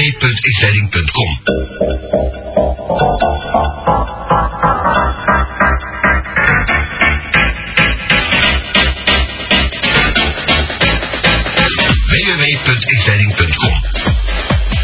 www.xleiding.com. www.xleiding.com.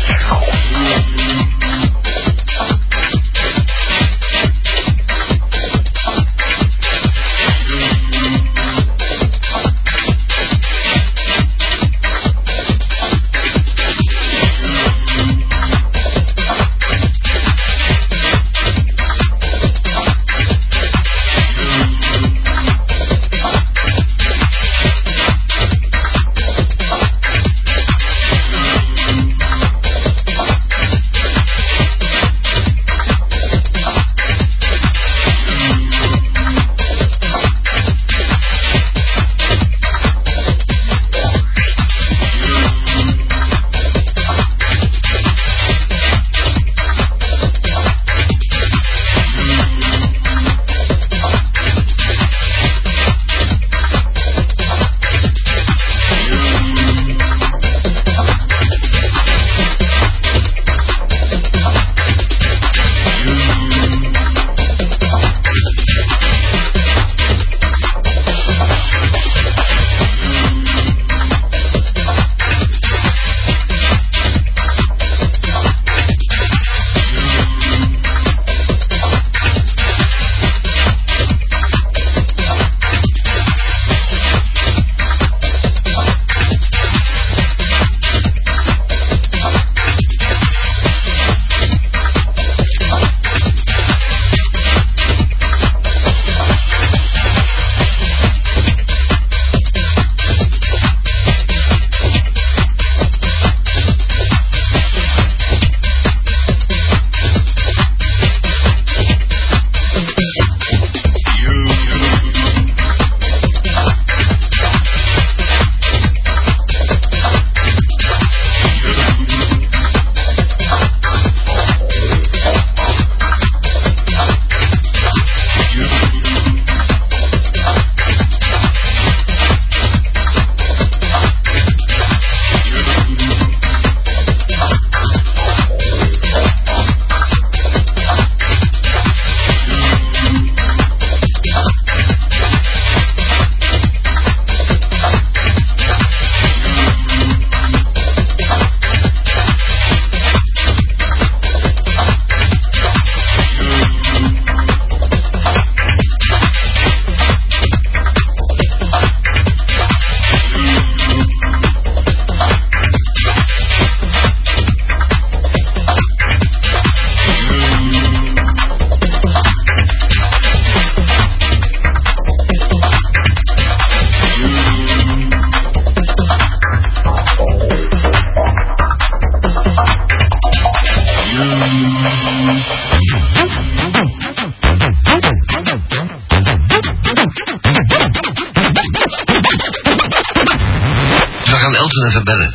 We gaan Elton even bellen.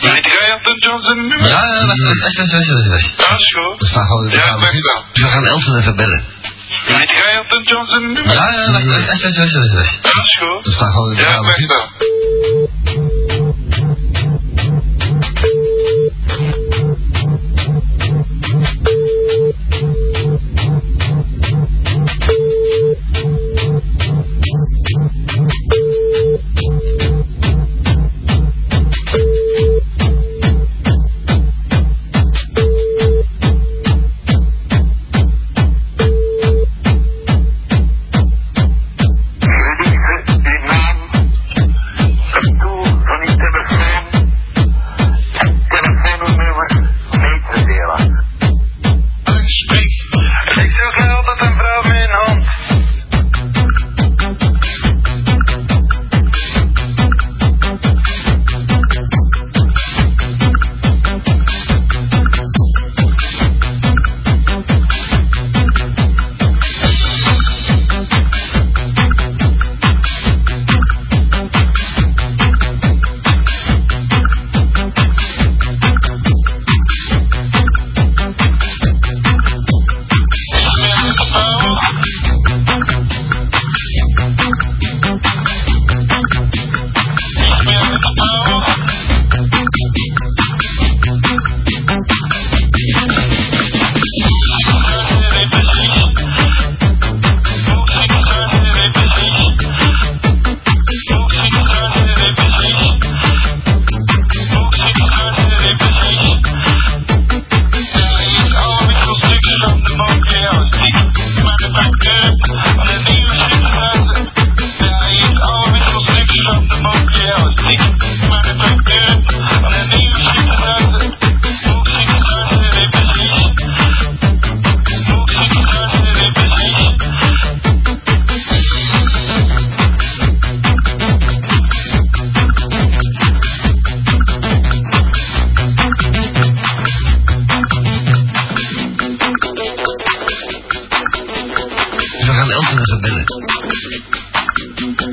Weet jij dat de Johnson nummer? Ja, ja, wacht, wacht, wacht, wacht, wacht, wacht. Dat is goed. We gaan gewoon... Ja, ik merk wel. We gaan Elton even bellen. Weet jij dat de Johnson nummer? Ja, ja, wacht, wacht, wacht, wacht, wacht, wacht. Dat is goed. We gaan gewoon... Ja, ik merk wel.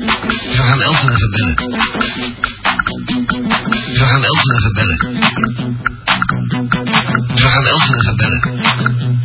even bellen. We gaan Elton even bellen. We gaan Elton even bellen.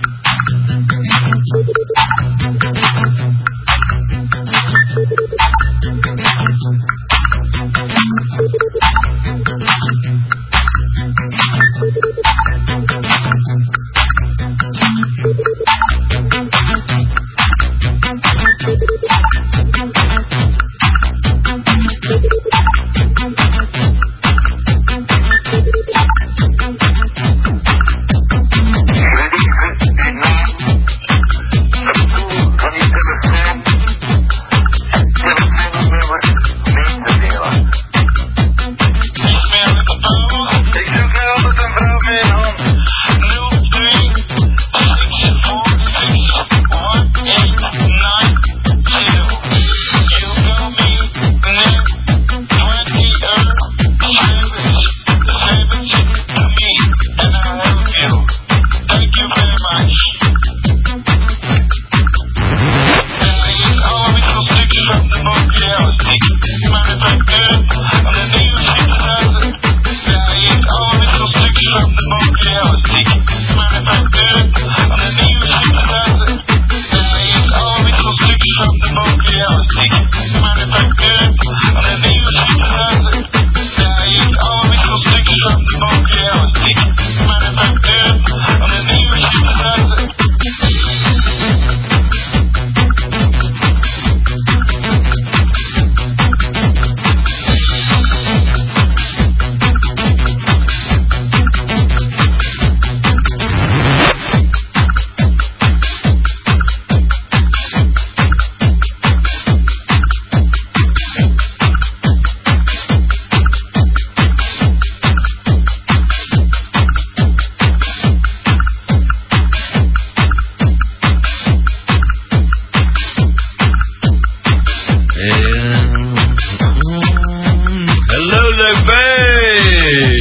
Hallo, leuk bij!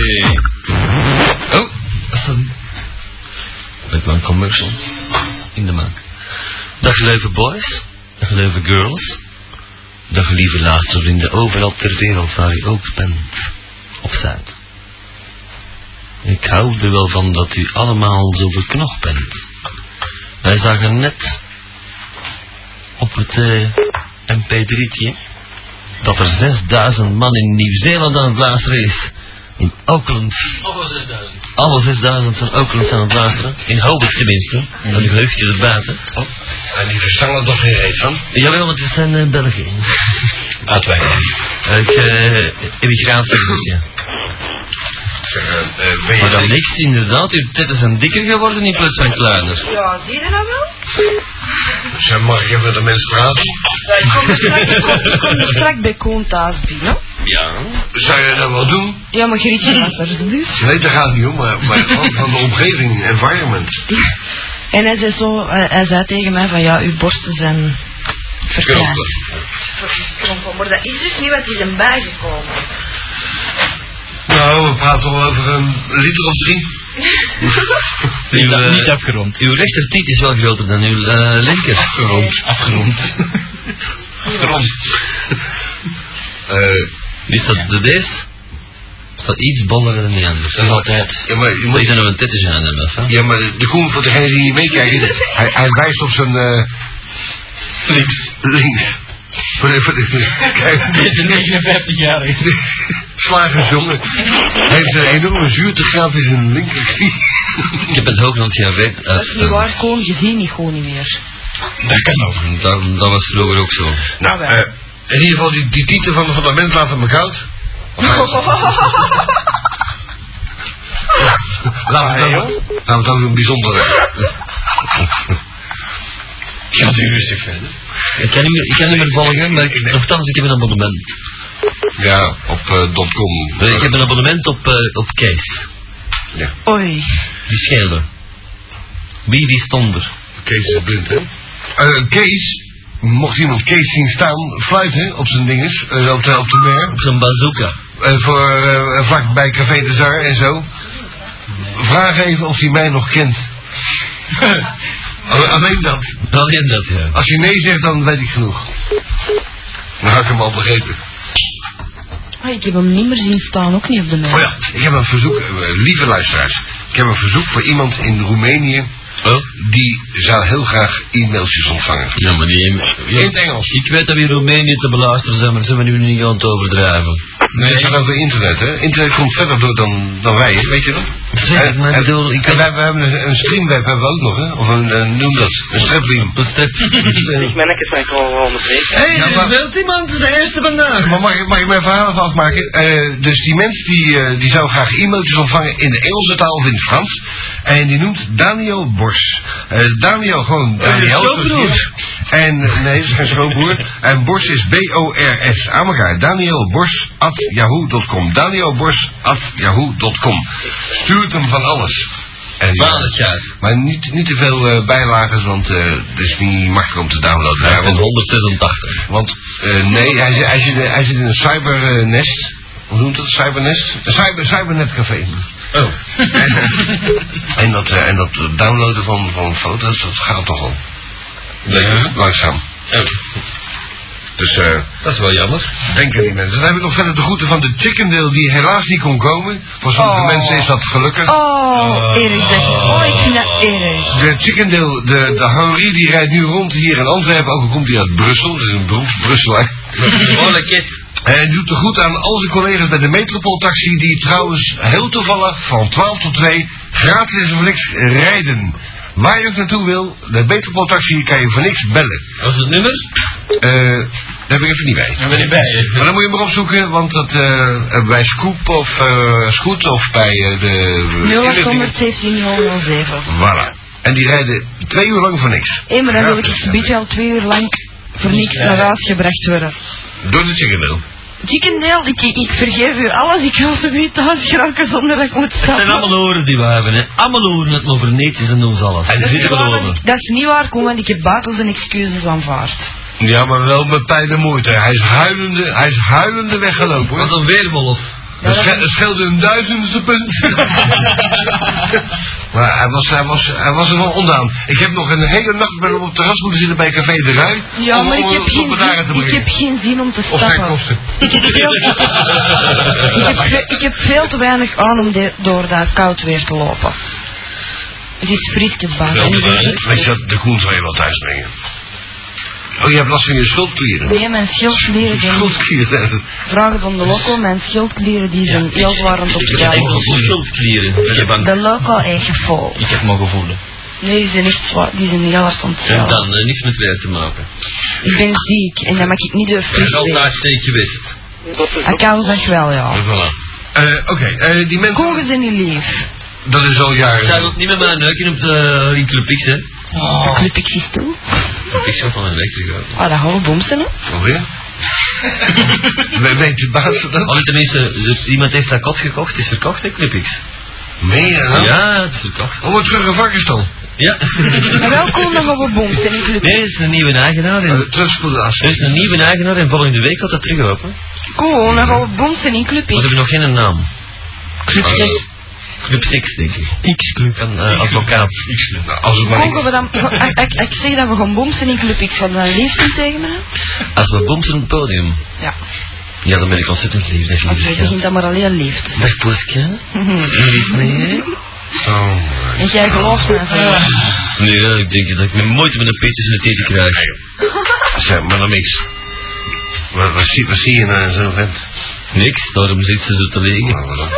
Oh, dat is een... Leuk man, commercial. In de maak. Dag leuke boys. Dag leuke girls. Dag lieve luistervrienden overal ter wereld waar u ook bent. Of zijt. Ik hou er wel van dat u allemaal zo verknocht bent. Wij zagen net op het eh, mp3'tje dat er 6000 man in Nieuw-Zeeland aan het luisteren is. In Auckland. Alle 6000 van Auckland zijn aan het luisteren. In Hobart tenminste. Dat is leugje erbuiten. Mhm. Oh. En die verstaan er toch geen reet van? Jawel, want het zijn eh, Belgen. Uitwijken. Uit eh immigratie. dus, Ja. eh, ben Maar dan niks, inderdaad. Uw tetten zijn dikker geworden in plaats van kleiner. Ja, zie je dat nou wel? Zeg, mag ik even met de mensen praten? Ik kom er straks, kom, kom er straks bij Koen thuis binnen. Ja. Zou je dat wel doen? Ja, maar Grietje, dat is alsjeblieft. Nee, dat gaat niet om, maar, maar gewoon van de omgeving, environment. En hij zei, zo, eh, hij zei tegen mij van, ja, uw borsten zijn verkleind. Verkrompeld. Maar dat is dus niet wat is hem bijgekomen. Nou, we praten al over een liter of drie. Uw, eh, afgerond. uw rechtertiet is wel groter dan uw eh, linker. Afgerond. Afgerond. Rond. Eh, Is dat de beest? Is dat iets boller dan die anders? Dat is altijd. ja, maar je Moet moet... je dan nog een tetten zijn hebben, of hè? Ja, maar de koen voor degene die niet meekijken, hij, hij wijst op zijn... eh links. Links. Voor de, voor de, kijk, Deze 59-jarige. slagersjongen. Hij heeft een enorme zuurtegraad in zijn linkerknie. Ik heb het Hoogland gered Dat is niet waar, Koen, je ziet niet gewoon niet meer. Dat kan ook. Mm, Dat, dat was vroeger ook zo. Nou, eh, in ieder geval, die, die titel van, van dat mens laten me koud. Laten we dat Laten we dat een bijzondere. Ja, nu rustig verder. Ik kan niet meer, ik kan niet meer volgen, maar ik, nogthans, ik heb een abonnement. Ja, op eh, .com. Eh, Ik heb een abonnement op, eh, op Kees. Oei. Die schelde. Wie die stond er? Kees is blind, hè? Eh, Kees, mocht iemand Kees zien staan, fluiten op zijn dinges, eh, op, de, op de mer. Op zijn bazooka. Eh, voor, eh, vlak bij Café de Zar en zo. Vraag even of hij mij nog kent. Al- Alleen dat. Alleen dat, ja. Als hij nee zegt, dan weet ik genoeg. Dan had ik hem al begrepen. Ah, ik heb hem niet meer zien staan, ook niet op de mijne. Oh ja, ik heb een verzoek, eh, lieve luisteraars. Ik heb een verzoek voor iemand in Roemenië. Wel? Die zou heel graag e-mailtjes ontvangen. Ja, maar niet in, In het Engels. Ik weet dat we in Roemenië te beluisteren zijn, maar zijn we nu niet aan het overdrijven. Nee, het gaat over internet, hè? Internet komt verder door dan, dan wij, hè, weet je dat? Zeg het, maar ik bedoel, ik en wij, wij hebben een, een streamweb hebben we ook nog, hè? Of een, een- noem dat, een strepliem. Wat is dit? Ik ben netjes zijn gewoon wel onderbreken. Hé, Ja, maar- wilt iemand de eerste vandaag? Maar mag, ik- mag ik mijn verhaal even afmaken? Eh, dus die mens die, eh, die zou graag e-mailtjes ontvangen in de Engelse taal of in het Frans. En die noemt Daniel Bors. Eh, Daniel Oh, gewoon Daniel. is zoals schoonbroer. die is. En nee, dat is geen schoonbroer. En Bors is B-O-R-S. Aan elkaar. Daniel Bors at yahoo.com. Daniel Bors at yahoo.com. Stuurt hem van alles. En, eh, Maandagjaar. maar niet, niet te veel eh, bijlagen, want eh het is niet makkelijk om te downloaden. Ja, Van want 186. want eh, nee, hij zit, hij, zit, hij zit in een cybernest. Hoe noemt dat? Cybernest? Een cyber, cybernetcafé. Oh. En dat, eh, en dat downloaden van, van foto's, dat gaat toch al. Ja. Langzaam. Oh, Dus eh, dat is wel jammer. denk aan die mensen. Dan heb ik nog verder de groeten van de chickendeel die helaas niet kon komen. Voor sommige Oh. mensen is dat gelukkig. Oh, Ah. erg dat je... Oh, ik vind dat erg. De chickendeel, de, de Henri, die rijdt nu rond hier in Antwerpen. Ook al komt hij uit Brussel, dat is een beroemd Brusselaar. Holle kid. En doet er goed aan al zijn collega's bij de Metropooltaxi, die trouwens heel toevallig van 12 tot 2 gratis en voor niks rijden. Waar je ook naartoe wil, de Metropooltaxi kan je voor niks bellen. Wat is het nummer? Eh, daar heb ik even niet bij. ben ik bij. Maar dan moet je maar opzoeken, want dat, eh, eh, bij Scoop of eh Scoot of bij eh, de... 0817 007. Voilà. En die rijden twee uur lang voor niks. Hé, maar dan wil ik Gratis. het gebied wel twee uur lang voor niks naar huis gebracht worden. Door de chickendeel. Chickendeel, ik, ik, ik vergeef u alles. Ik wil ze niet thuis geraken zonder dat ik moet Het zijn stappen. allemaal oren die we hebben, hè. Allemaal oren het over netjes en ons alles. En En er zitten zitten Want beloven. ik- Dat is niet waar, Koen, want ik heb bakels en excuses aanvaard. Ja, maar wel met pijn en moeite. Hij is huilende, hij is huilende weggelopen hoor. Wat een weerwolf. Dat sche- dat scheelde een duizendste punt. maar hij was, hij, was, hij was er wel ondaan. Ik heb nog een hele nacht bij hem op het terras moeten zitten bij Café de Rui. Ja, om- maar om- ik heb, om geen me daarin te zin, ik brengen. heb geen zin om te Of zijn stappen. kosten. Ik heb, veel, ik, heb ve- ik heb veel te weinig aan om de- door dat koud weer te lopen. Het is fris het bad. En ik ben echt- Weet je wat, de koen zal je wel thuis brengen. Oh, je hebt last van je schuldklieren. Nee, mijn schildklieren zijn... Schuldklieren. Vraag het om de loco, mijn schildklieren die zijn heel zwaar aan het Ik heb enkel opkruipen. schuldklieren. Ik heb De loco is vol. Ik heb mijn gevoelens. Nee, die zijn echt zwaar, die zijn heel hard aan het En zwellen. dan, eh, niks met weer te maken. Ik ben ziek en dat mag ik niet door Dat fris is al zijn. naast steek geweest. Ik hou zeg wel, En ja. voilà. Eh, Oké, eh, die mensen... Kogen zijn niet lief. Dat is al jaren. Zij wil niet met mij neuken op de in Club X, hè. Oh. De club ik zie toe. Club X gaat van een elektrica. Ah, dat houden boomsen, hè. Oh ja? We- Weet de baas dat? Allee, tenminste, dus iemand heeft dat kot gekocht. Het is verkocht, hè, Club X. Meen je dat? Ja, het is verkocht. Oh, wat terug een varkenstal. Ja. Maar wel cool dat we boomsen in club. Nee, het is een nieuwe eigenaar. Eh, En, Terugspoelen er is een nieuwe eigenaar en volgende week gaat dat terug open. Maar Cool, dan gaan we boomsen in club. Dus ze hebben nog geen naam. Club zes. Club 6, denk ik. X-Club. Een eh, advocaat. Nou, als het maar niet- Mogen we dan... Ik, ik, ik zeg dat we gaan boomsen in club. Ik zal dan liefst niet tegen me. Als we bomt op het podium. Ja. Ja, dan ben ik ontzettend lief. Dag, Want jij liefje. begint dan maar alleen liefst. Dag, Poeske. Lief mee. Oh, En jij gelooft me. zo. Nee, ja, ik denk dat ik me moeite met een peet tussen de tenen krijg. zeg maar dan niks. Wat, wat, zie, wat zie je nou in zo'n vent? eh, Niks, daarom zit ze zo te liggen. Nou, wat dan?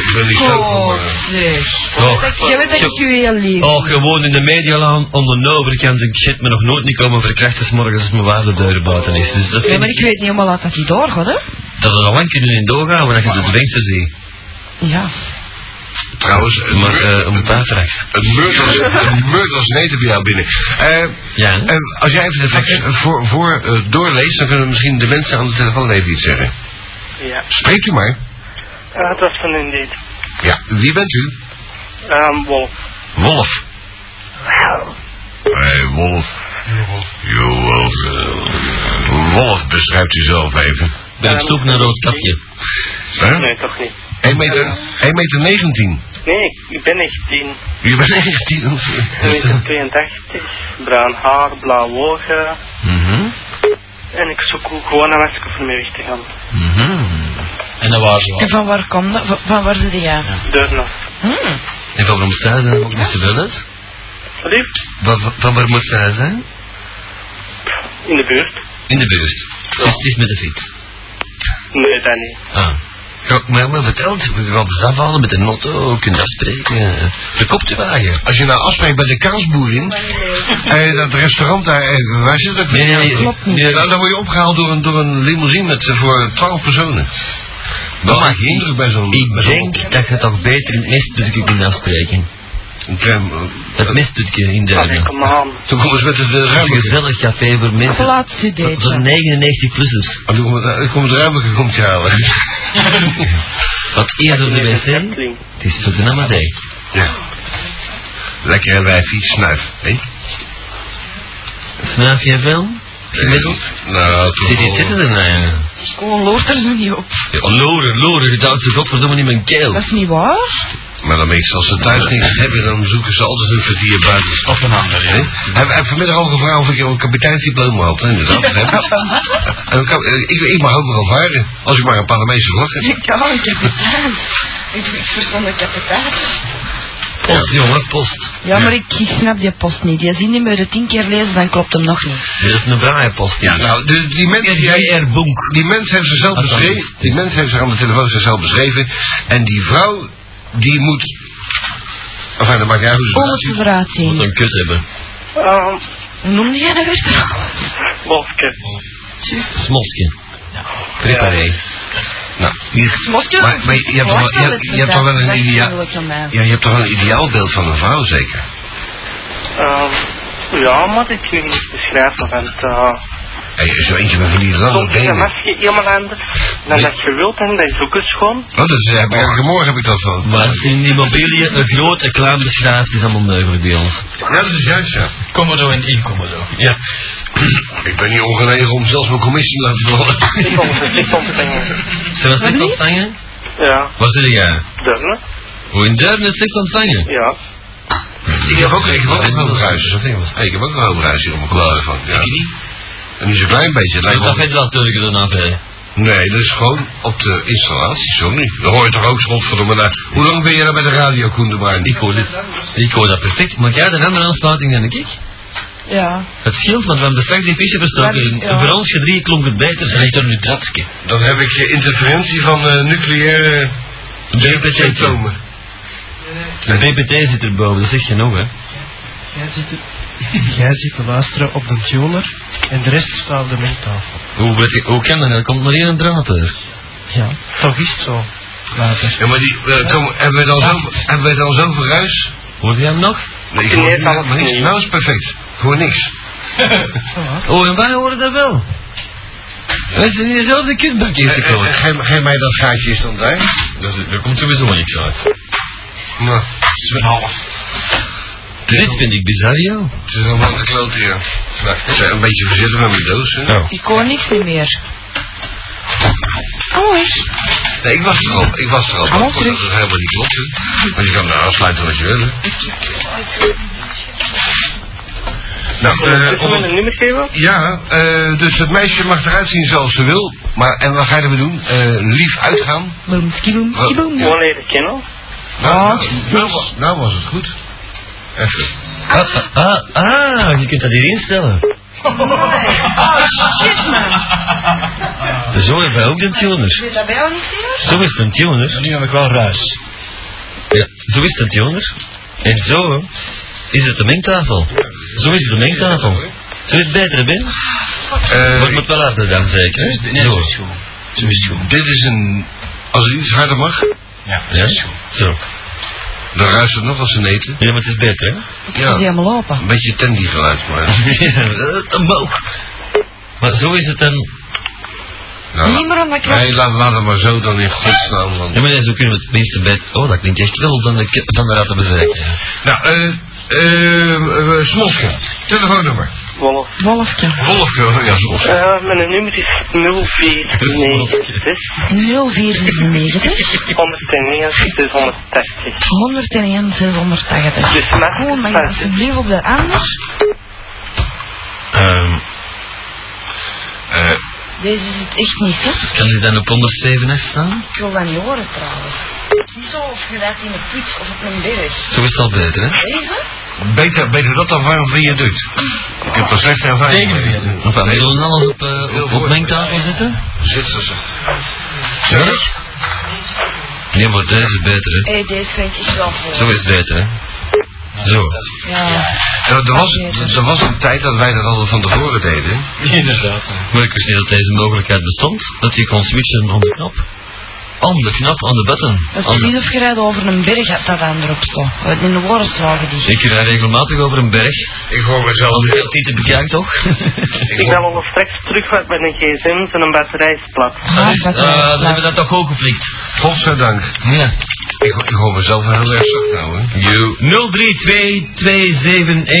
Ik ben niet zo God, maar... zeg. Oh, Jij weet dat ik u heel lief. oh, gewoon in de medialaan, aan de overkant. Ik shit me nog nooit niet komen verkrachten 's morgens als mijn waar de deur buiten is. Dus dat Ja, vind maar ik, ik weet niet helemaal laat dat die doorgaat, hè. dat er al lang kunnen in doorgaan, maar dat je het wenkt te zien. Ja. Trouwens, een, Maar mur- eh, om een paar vragen. een beurt als, een beurt als neten bij jou binnen. Eh, Ja, hè? eh, als jij even de fax voor, voor eh, doorleest, dan kunnen misschien de mensen aan de telefoon even iets zeggen. Ja. Spreekt u maar. Eh, het was van Indeed. Ja. Wie bent u? Ehm Wolf. Wolf. Hey, Wolf. Jo, Wolf. Eh, Wolf beschrijft u zelf even. ben op zoek naar een rood kapje. Huh? Nee, toch niet. 1 meter, 1 meter 19. Nee, ik- ik ben echt 10. Je bent 19. of- 1,82 meter, bruin haar, blauwe ogen. Mhm. En ik zoek ook gewoon een werk om mee weg te gaan. mhm. En dat was wel. En van waar kwam dat? Van, van waar zit jij? Deurne. Hmm. En van waar moest hij zijn? Ook niet te veel uit. Sorry? Van, van waar moest hij zijn? In de buurt? In de buurt. Dus het is met de fiets. Nee, dat niet. Ah. Ja, maar me verteld, we gaan dus afhalen met de motto, kunnen afspreken. De koptewagen. Als je nou afspreekt bij de kaasboerin, en dat restaurant daar, eh, waar zit dat? Nee, nee, nee. Klopt niet. Nou, dan word je opgehaald door een, door een limousine met, eh, voor twaalf personen. Dat Maar maakt je indruk bij zo'n... Ik bij zo'n- denk dat je toch beter in het mestpuntje kunt afspreken. Een klein, eh, Het mestpuntje in Allee, Duinen. kom aan. Toen komen ze met het eh, Een ruimte. gezellig café voor mensen. Plaatsdate. Voor 99-plussers. Oh, toen komen- eh, komt de ruimte komt je halen. Wat eerder op de wc, het is voor de namadij. ja. Lekker eh, wijfie, snuif. Hé? Snuif jij veel? Gemiddeld? Nou, toen Zit je zitten er nou ja? Gewoon loort er zo niet op. Ja, Loren, Loren, je duwt zich godverdomme in mijn keel. Dat is niet waar. Maar dan meestal, als ze thuis niks hebben, dan zoeken ze altijd een kwartier buiten de stad een ander. Hè? Hij heeft vanmiddag al gevraagd of ik een kapiteinsdiploma had, hè, inderdaad. dat heb ik. En ik, kan- eh, ik, ik mag ook nog varen, als ik maar een Panamese vlag heb. Ja, een kapitein. Ik, ik verstond een kapitein. Post, jongen, post. Ja, maar ik, ik snap die post niet. Die zin die moet je tien keer lezen, dan klopt hem nog niet. Dit is een braaie post. Ja, nou, de, die mensen die hij- R.R. Bonk. die mens heeft ze zelf Dat is beschreven. anders. Die mens heeft zich aan de telefoon zichzelf beschreven. En die vrouw, die moet. Enfin, dat maakt niet uit hoe ze Kom het ze eruit Moet zien. een kut hebben. Ehm, Hoe noemde jij dat weer trouwens? Wolfke. Smosje. Preparé. Nou, hier. Smosje? Maar- maar je hebt toch wel- je hebt- je hebt toch wel een idea- idee. Ja, je hebt toch wel een ideaalbeeld van een vrouw, zeker? Ehm, ja, maar ik kan het niet beschrijven, want eh, Hey, zo eentje met van die lange soms is een benen. mesje helemaal anders dan dat je wilt en dat is ook eens schoon. Oh, dat is, eh, morgen, morgen heb ik dat van. Maar in die mobilie een groot en klein beschrijft is allemaal mogelijk bij ons. Ja, dat is juist, ja. Commodore en Incommodo. Ja. Ik ben niet ongenegen om zelfs mijn commissie te laten vallen. Ik ont- Ik ontvangen. Zullen we slecht niet? ontvangen? Ja, Wat zeg jij? Deurne. Hoe in Duiven is slecht ontvangen? Ja. Ik heb ook, ik heb ook een hoop ruis. Hey, ik heb ook een hoop ruis hier om mijn klauwen van. Ja. En nu zo'n klein beetje. het Dat lijkt is wel- dat verder dan Turken dan af, hè? Nee, dat is gewoon op de installatie, zo nu. Dan hoor je toch ook schot van de naar. Hoe lang ben je nou bij de radio, Koen de Bruin? Ik hoor dit. Ik hoor dat perfect. Maar jij de andere aansluiting dan ik? Ja. Het scheelt, want we hebben straks die pisje bestoken. Maar, ja. Voor ons gedrie klonk het beter. Zeg dan nu datske. Dan heb ik eh, interferentie van eh, nucleaire symptomen. De BBT zit erboven, dat is echt genoeg, hè? Jij zit, jij zit te luisteren op de tuner en de rest staat op de mengtafel. Hoe, weet ik, hoe kan dat? Er komt maar één draad uit. Ja, toch is het zo. Later. Ja, maar die, eh, kom, hebben, we dan zo, hebben we dan zoveel ruis? Hoor je hem nog? Nee, ik Nee, hoor dat helemaal was niks. niet. Nou is het perfect. Gewoon niks. Voilà. Oh, en wij horen dat wel. Wij zijn in dezelfde kutbak hier te Eh, eh, eh, komen. Geef geef mij dat gaatje is dan daar. Dat is- Er komt sowieso niks uit. Nou, Dit vind ik bizar, joh. het is allemaal gekloot hier. Nou, ik zou een beetje verzitten met mijn doos. hè. Nou. Ik hoor niks niet meer. Kom eens. Nee, ik was er al. Ik was er al. Hallo, Maar goed, dat is helemaal niet klopt. hè. Want je kan daar afsluiten wat je wil. hè. Nou, Zullen eh, we een onder- nummer geven? ja, eh, dus het meisje mag eruit zien zoals ze wil. Maar, en wat ga je ermee doen? Eh, lief uitgaan? Boom, skiboom, skiboom. Gewoon leren kennen. Nou, nou, nou wa- nou was het goed. Even. Ah, ah, ah, ah, je kunt dat hier instellen. Oh, shit man. Zo hebben wij ook de tuner. Zit dat bij jou niet serieus? Zo is het een tuner. Nu heb ik wel ruis. Ja, zo is het een tuner. En zo is het de mengtafel. Zo is het de mengtafel. Zo is het beter, Ben. Eh, Maar het moet wel harder dan, zeker. hè? Zo. dit is een... Als het iets harder mag, Ja, zo. dan ruist het nog als ze eten. Ja, maar het is beter, hè? Ik zie helemaal lopen. Een beetje tandy geluid, maar... Omhoog. Maar zo is het dan. Nou, Niet meer aan de knop. nee, laat, laat het maar zo dan in godsnaam. Want... Ja, maar zo kunnen we het minste bed. Oh, dat klinkt echt wel van de, k- van de ratten bezwijken. Nou, eh, eh, eh, Smoske, telefoonnummer. Wolf. Wolfje. Wolfke, oh ja, Smoske. Eh, mijn nummer is 0496 101 0496 101 680. 680. Dus maar- Gewoon, mag je alsjeblieft op de anders? Ehm, Eh, Deze is het echt niet, hè? Kan die dan op 107 echt staan? Ik wil dat niet horen trouwens. Het is Niet zo of je rijdt in een put of op een berg. Zo is het al beter, hè? Deze? Beter, beter dat dan warm viaduct. Ik heb er slechte ervaring mee. Of we willen alles op, eh, op, op mengtafel zitten? Zit ze zo. Zeg? Nee, maar deze is beter, hè? Hé, deze vind ik echt wel voor. Zo is het beter, hè? Zo. Ja. Er, er was, er, er was een tijd dat wij dat altijd van tevoren deden. Inderdaad. Maar ik wist niet dat deze mogelijkheid bestond. Dat je kon switchen om de knop. Om de knop, aan de button. Dat is On the- niet of je rijdt over een berg hebt dat aan erop staat. In de woorden slagen die. Ik rijd regelmatig over een berg. Ik hoor mezelf. Als ik dat niet te bekijken, toch? Ik ben al straks terug wat met een gsm en een batterij is plat. Dat is, Ah, dat eh, is Nou, dan waar. hebben we dat toch ook geflikt. Godzijdank. Ja. Ik, ho- ik hoor mezelf heel erg zacht nou, hè. You. 0322711212.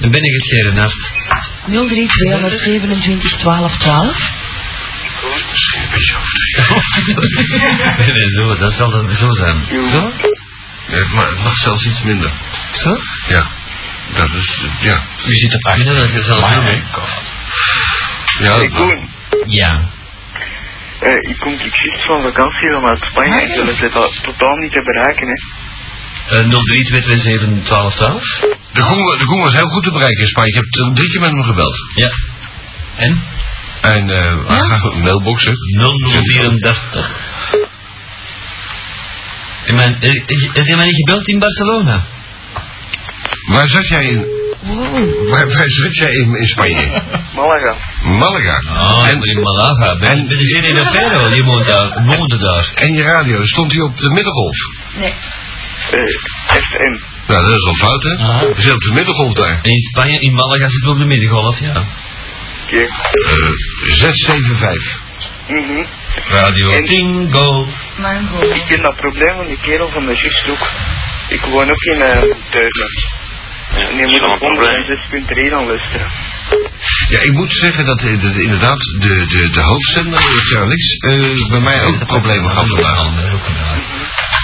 Dan ben ik het gerenast. 03 227 12 12. Misschien een beetje overdreven. nee, nee, zo, dat zal dan zo zijn. Zo? Nee, Het ma- het mag zelfs iets minder. Zo? Ja. Dat is, ja. U zit op 8. dat je zelf doen, hè? Ja, Ik dat- kom, Ja. eh, ik kom ik zit van vakantie van uit Spanje en zullen ze dat totaal niet te bereiken, hè. Eh 0322711212. de, Goen, de Goen was heel goed te bereiken in Spanje. Ik heb t- drie keer met hem gebeld. Ja. En? En eh mailboxen. 0034. Ik ben, is, is hij mij niet gebeld in Barcelona? Waar zat jij in? Wow. Waar, waar zat jij in, in Spanje? Malaga. Malaga. Ah, En- in Malaga. Ben, en- en, ben je in de Ferro? Die woont daar, woonde daar. En je radio, stond hij op de middengolf? Nee. Eh, FM. Nou, dat is al fout, hè? Aha. We zitten op de middengolf daar. En in Spanje, in Malaga zitten we op de middengolf, ja. Oké. Eh 675. Mhm. Radio En- Tingo. Mango. Ik ken dat probleem van die kerel van de juist ook. Ik woon ook in eh Duinen. En je moet op 106.3 aan luisteren. Ja, ik moet zeggen dat eh, dat inderdaad de, de, de hoofdzender, Charlix, eh bij mij ook problemen gehad vandaag.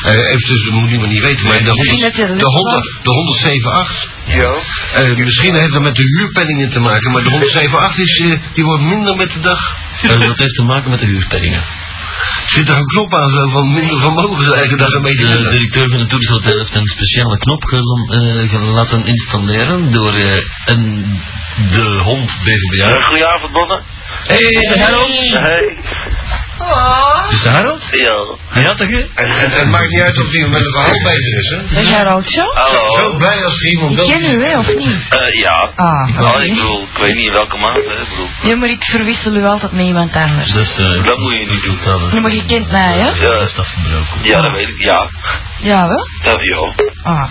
Eh, even tussen, dat moet niemand niet weten, maar de, Ik vind dat je 100, de, dat 100, niet de 178, Ja. eh, misschien heeft dat met de huurpenningen te maken, maar de 178 is, eh, die wordt minder met de dag. Eh, En dat heeft te maken met de huurpenningen. Zit er een knop aan zo van minder vermogen zijn eigen dag een beetje De minder. directeur van het toerisme heeft een speciale knop gel- eh, gel- laten installeren door eh, een, de hond BVBA. Goedenavond, Eh, Bonne. Hé, hey, de Harold! Hey. Oh. Is de Harold? Ja. Ja, toch? hè? En, en het maakt niet uit of iemand met een verhaal bezig is, hè? Dat jij al zo? Ah, Zo blij als er iemand Ik dat ken u, hè, of niet? Eh, ja. Ah, oké. bedoel, ik weet niet in welke maand, hè. Ik bedoel, Ja, maar ik verwissel u altijd met iemand anders. Dus, eh, Dat moet je niet doen. Dat is- Nee, maar je kent mij, hè? Ja. Dat is afgebroken. ja, dat weet ik. Ja, Ja, wel? dat wel. Ah.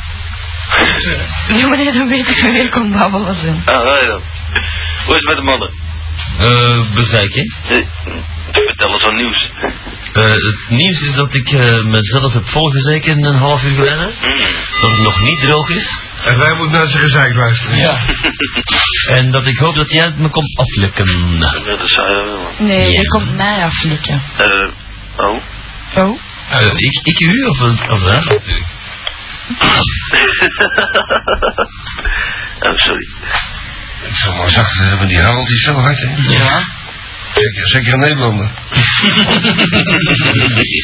Ja, maar nee, dan weet ik weer kon babbelen zijn. Ah, wel, ja. Hoe is het met de mannen? Eh, bezeik, hè? Eh, Vertel eens wat nieuws. Eh, het nieuws is dat ik eh, mezelf heb volgezeken een half uur geleden. Mm. Dat het nog niet droog is. En wij moeten naar zijn gezeik luisteren. En dat ik hoop dat jij het me komt aflikken. Dat is saai wel. Nee, Ja. je komt mij aflikken. Eh, oh. Oh? Eh, ik, ik u of, of haar natuurlijk? oh, sorry. Ik zal maar zacht hebben, die Harold die is zo hard, hè? Ja. Zeker, zeker in Nederlander.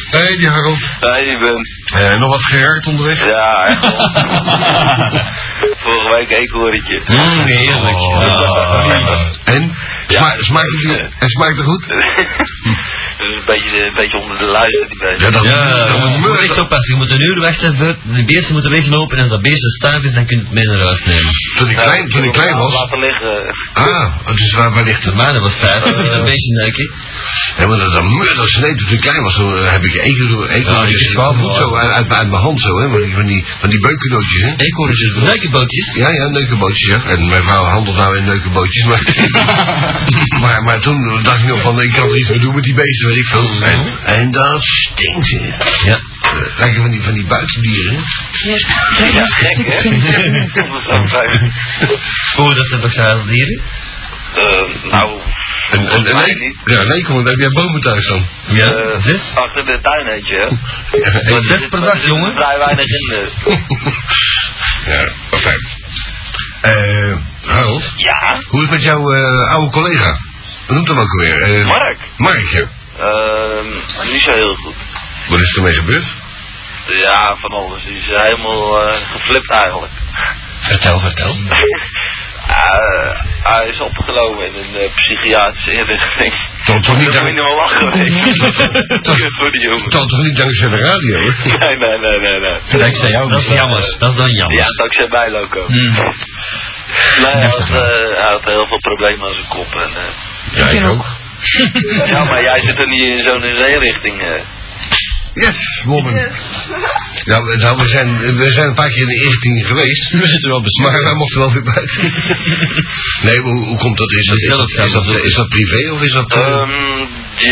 Hé, hey, die Harold. Hey, ik ben. Eh, nog wat geraakt onderweg? Ja, echt wel. Vorige week eekhoorntje. Mm, heerlijk. Ah. Oh. En? Sma smaakt, het, en smaakt het goed? Dat is een beetje, een beetje onder de luister die bij. dat Ja, je moet moet echt oppassen. Je moet een uur wachten. voor- De beesten moeten weglopen. En als dat beest een staaf is, dan kun je het mee naar huis nemen. Toen ik klein, toen ik klein was. Nou, Laten liggen. Ah, dus waar, waar ligt De het? maan was vijf. Een beetje neuken. Ja, maar dat, dat murders, nee, toen ik klein was, toen eh, heb ik ekel, ekel, Ja, die is twaalf wel voet zo mooi. uit, uit, uit mijn hand zo, hè, van die, van die, van die beukendootjes, hè. Ik hoor dus neukenbootjes. Ja, ja, neukenbootjes, ja. En mijn vrouw handelt nou in neukenbootjes, maar... maar, maar toen dacht ik nog van, ik kan er iets mee doen met die beesten, weet ik veel. En, en dat stinkt, hè. Ja. Eh, Lijken van die, van die buitendieren, hè. Ja, gek, hè? Oh, dat zijn toch huisdieren? Eh, nou, En, en, en Volgens mij nee, niet. ja, nee, kom, dan heb jij bomen thuis dan. Ja. eh, Zes? achter de tuin weet je. hè. Ja, Wat zes per dag, Er jongen? zit vrij weinig in. eh. ja fijn. Eh, Harold, Ja, hoe is het met jouw eh, oude collega? Hoe noemt hem ook alweer? Eh, Mark? Mark, ja. Ehm, niet zo heel goed. Wat is ermee gebeurd? Ja, van alles. Die is helemaal eh, geflipt eigenlijk. Vertel, vertel. Eh, hij is opgenomen in een eh, psychiatrische inrichting. Toch, toch, niet, Dat moet je dank, niet meer lachen. hoor. Ik vind het voor die jongen. toch, toch niet dankzij de radio, hè? Nee, nee, nee, nee, nee. Dankzij jou. Dat is jammer. Dat is dan jammer. Ja, dankzij mij, Loco. Hmm. Nee, hij had, eh, hij had heel veel problemen aan zijn kop. En, eh, Ja, ik ook. ja, maar jij zit er niet in zo'n inrichting. eh. Yes, woman. Nou, we- nou we, zijn, we zijn een paar keer in de inrichting geweest. We zitten wel besmet. Maar wij mochten wel weer buiten. Nee, maar hoe, hoe komt dat? Is dat, is, dat, is, dat, is dat privé of is dat... eh, Ehm,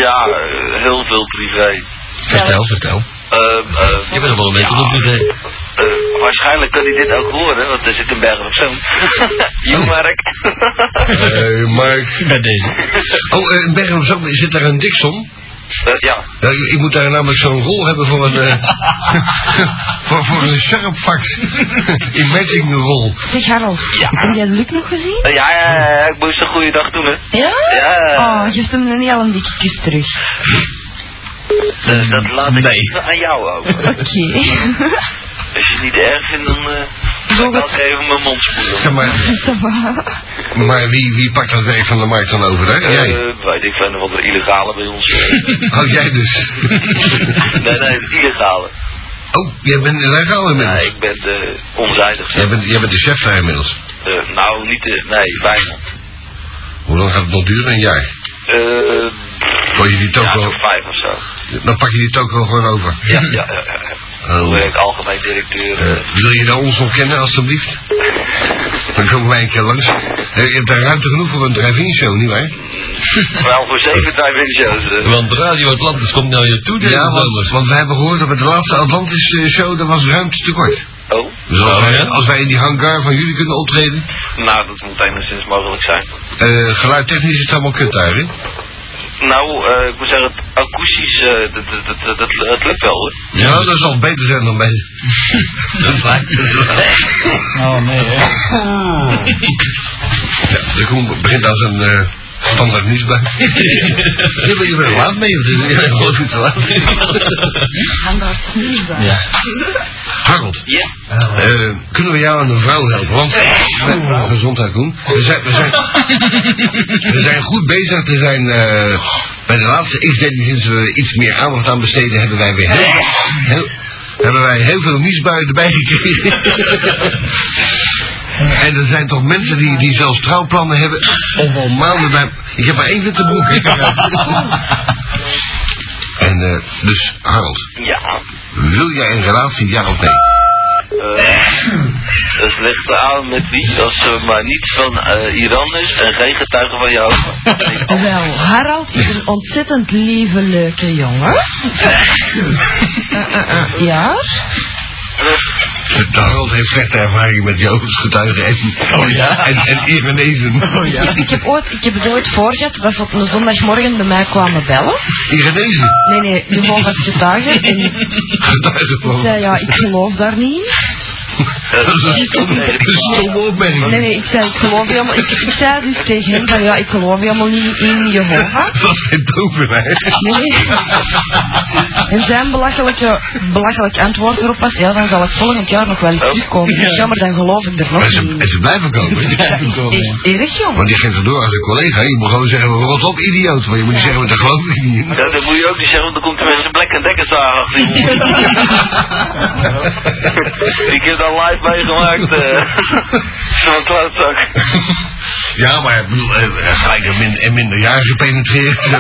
ja, eh, heel veel privé. vertel, vertel. Ehm, eh, Je bent nog wel een beetje op privé. eh, waarschijnlijk kan hij dit ook horen, want er zit een berg op zo'n. Oh. Joemark. Eh, Mark. Bij deze. Oh, eh, Bergen op Zoom, zit daar een Dixon? Eh, ja, Nou, ik, ik moet daar namelijk zo'n rol hebben voor een... eh, voor, voor een sharpfax. Imaging rol. Zeg Harold, heb jij Luc nog gezien? Eh, ja, ja, ja, ja, ik moest een goede dag doen, hè. Ja? Ja. Oh, geeft hem dan niet al een dikke kus terug. Dus dat laat ik Nee. even aan jou over. Oké. Als je het niet erg vindt, dan eh, ga ik altijd even mijn mond spoelen. Zeg maar, Ça va. maar wie, wie pakt dat werk van de markt dan over, hè? Jij. Eh, weet ik van wat er illegale bij ons. eh. Oh, jij dus. nee, nee, het illegale. Oh, jij bent illegaal Nee, inmiddels. ik ben eh onzijdig. Jij bent, jij bent de chef daar inmiddels. Eh, nou, niet de. Nee, bijna. Hoe lang gaat het nog duren? Een jaar. Eh, Voor je die ja, toko, zo'n vijf of zo. dan pak je die toko gewoon over. Ja, ja, ja, ja. Dan Oh. ben ik algemeen directeur. eh. Eh, wil je dan ons nog kennen, alstublieft? Dan komen wij een keer langs. Eh, Je hebt daar ruimte genoeg voor een drive-in show, nietwaar? Wel voor zeven tijd ben ik zo. eh. Want Radio Atlantis komt naar je toe deze Ja, want, zomer. want we hebben gehoord dat bij de laatste Atlantis eh, show, daar was ruimte tekort. Oh, Dus als, Oh, wij, ja? als wij in die hangar van jullie kunnen optreden, nou, dat moet enigszins mogelijk zijn. eh, geluidtechnisch is het allemaal kut daar, hè? Nou, eh, ik moet zeggen, het akoestisch, eh, dat, dat, dat, dat, dat lukt wel hoor. Ja, Nou, dat zal beter zijn dan bij... dat lijkt Oh nee, hè. Ja, de Koen begint als een eh, standaard nieuwsblad. je bent je bent er laat mee, of je bent gewoon goed te laat. Standaard nieuwsblad. Ja. Harold, Ja. eh, kunnen we jou en een vrouw helpen? Want, Eh, gezondheid Koen, we zijn, we, zijn, we zijn goed bezig. We zijn eh, bij de laatste inzetting, sinds we iets meer aandacht aan besteden, hebben wij weer heel, heel- hebben wij heel veel nieuwsbuien erbij gekregen. En er zijn toch mensen die, die zelfs trouwplannen hebben of al maanden bij... Ik heb maar één witte broek. hè. En eh, dus, Harold, Ja. wil jij een relatie, ja of nee? Eh, het ligt aan met wie, als ze maar niet van eh, Iran is en geen getuige van jou. Wel, Harald is een ontzettend lieve, leuke jongen. Eh, eh, eh, Ja? De Harold heeft slechte ervaring met Joods getuigen en, oh, ja? en, en Irenezen. Oh ja? Ik heb, ooit, ik heb het ooit voor gehad dat ze op een zondagmorgen bij mij kwamen bellen. Irenezen. Nee, nee, gewoon wat getuigen. En Getuigen ik van... zei, ja, ik geloof daar niet in. Dat is een stomme, een stomme opmerking. Nee, nee, ik zei, ik geloof helemaal... Ik, ik zei dus tegen hem van, ja, ik geloof helemaal niet in Jehovah. Dat is geen tovenaar. Nee. En zijn belachelijke, belachelijk antwoord erop was, ja, dan zal ik volgend jaar nog wel eens terugkomen. Ik zeg, ja, maar dan geloof ik er nog Maar niet ze, in. en ze blijven komen. Dat is echt erg, jongen. Want die geeft er door als een collega. Je moet gewoon zeggen, rot op, idioot. Maar je moet niet zeggen, dat geloof ik niet. in. Ja, dat moet je ook niet zeggen, want dan komt er mensen een Black Deckers aan achter je hoor. Ik heb dat live meegemaakt. eh. Zo'n klootzak. Ja, maar ik bedoel, eh, gelijk een, min, een minderjarige penetreert. zo.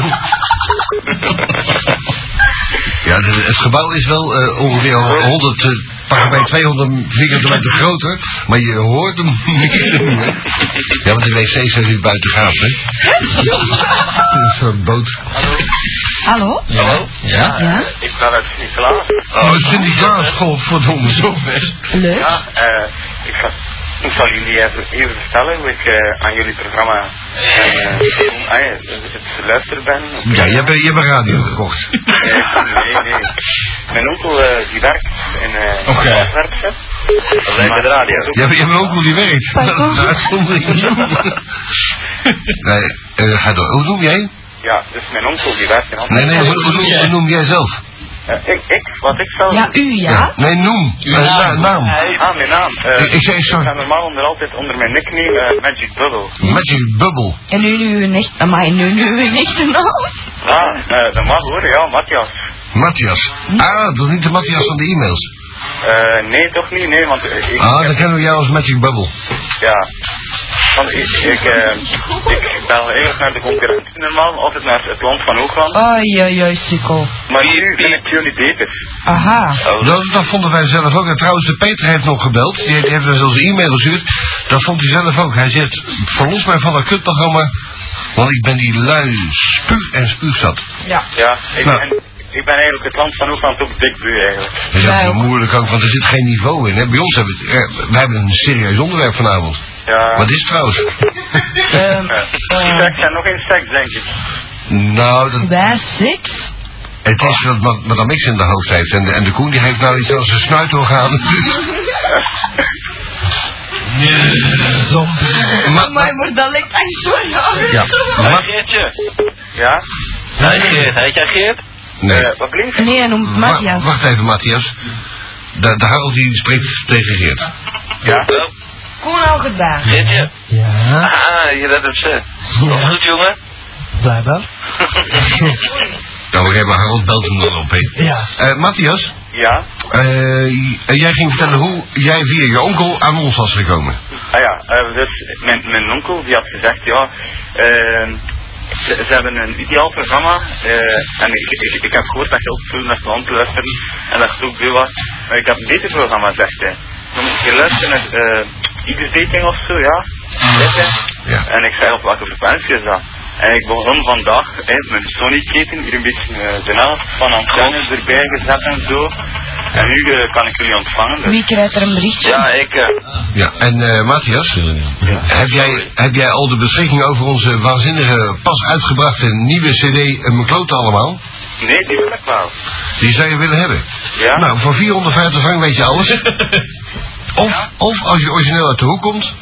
ja, de- het gebouw is wel eh, ongeveer 100, eh, pakken bij 200 vierkante meter groter. Maar je hoort hem niks doen, hè. Ja, want de wc's zijn nu buiten gaaf, hè. Een soort boot. Hallo? Hallo? Ja? Ja? Ik ben uit Sint-Niklaas. Oh, Sinterklaas, godverdomme, zo best. Leuk. Ja, eh, ik, zal, ik zal jullie even, even vertellen hoe ik eh, aan jullie programma eh, ah ja, het luisteren ben. Ja, je hebt, je hebt een radio gekocht. Eh, nee, nee. Mijn onkel eh, die werkt in eh Oké. Antwerpen. Dat lijkt me de radio. Je hebt, je hebt ook hoe die werkt. Pas op. Dat is zonderling. Nee, eh, ga door. Hoe noem jij? Ja, dus mijn onkel die werkt in Amsterdam. Nee, nee, hoe, hoe noem, hoe noem jij zelf? Eh, ik, ik, wat ik zelf... Ja, u ja. Nee, noem. Eh, na- naam. Ah, mijn naam. eh, Ik- ik zei, sorry. Ik ga normaal onder, altijd onder mijn nickname eh, Magic Bubble. Magic Bubble. En nu nu een echt, amai, nu nu Nou. een echte naam. Ah, eh, dat mag hoor, ja, Matthias. Matthias. Ah, dat is niet de Matthias van de e-mails. Eh, nee, toch niet, nee, want eh, ik... Ah, dan kennen we jou als Magic Bubble. Ja. Want ik, ik, eh, ik bel eigenlijk naar de concurrentie normaal, altijd naar het land van Hoogland. Ah. Oei, oei, oei, sukkel. Maar nu ben ik jullie beter. Aha. Dat, dat vonden wij zelf ook. En trouwens, de Peter heeft nog gebeld. Die heeft, die heeft ons onze e-mail gestuurd. Dat vond hij zelf ook. Hij zegt, verlos mij van dat kutprogramma. Want ik ben die lui spuug en spuugzat. Ja. Ja, ik Nou. ben, ik ben eigenlijk het land van Hoogland ook dikbu eigenlijk. Dat is ook Ja, zo ook. moeilijk ook, want er zit geen niveau in. Hè. Bij ons hebben we, het- eh, wij hebben een serieus onderwerp vanavond. Ja. Wat is het trouwens? Ehm, Ja. eh, Seks en nog eens seks, denk ik. nou, dat, wij seks? het is wat ma- madame X in de hoofd heeft. En de, en de Koen die heeft nou iets als een snuitorgaan. Maar- Amai, Oh maar dat lijkt echt zo raar. Ja. Hé Ma- Geertje. Ja? Hé Geert, heet jij Geert? nee. Eh, wat klinkt? Nee, hij noemt Wa- Matthias. wacht even, Matthias. De, de Harold die spreekt tegen Geert. Ja. Wel, Koen al gedaan. Geertje. Ja, Ah, je redt het ze. Wat goed jongen. blijkbaar. Nou, oké, maar Harold belt hem dan op, hè. Ja. Eh, Matthias, Ja? eh, j- jij ging vertellen hoe jij via je onkel aan ons was gekomen. Ah ja, eh, dus mijn, mijn onkel die had gezegd, ja, ehm, ze, ze hebben een ideaal programma eh, en ik, ik, ik heb gehoord dat je ook veel naar mijn onkel luisterde en dat het ook bij was, maar ik heb een beter programma, zegt hij. Dan moet je luisteren naar eh, X-dating of zo, ja. Zegt hij. Ja. En ik zei, op welke frequentie is dat? En ik begon vandaag hè, mijn Sony-keten, hier een beetje eh, ernaast, van antennes erbij gezet en zo. En nu eh, kan ik jullie ontvangen. dus. Wie krijgt er een berichtje? Ja, ik. eh, Ja, en eh, Matthias, heb, jij, heb jij al de beschikking over onze waanzinnige, pas uitgebrachte nieuwe cd eh, Mekloten allemaal? Nee, die wil ik wel. Die zou je willen hebben? Ja? Nou, voor 450 frank weet je alles. of, of als je origineel uit de hoek komt,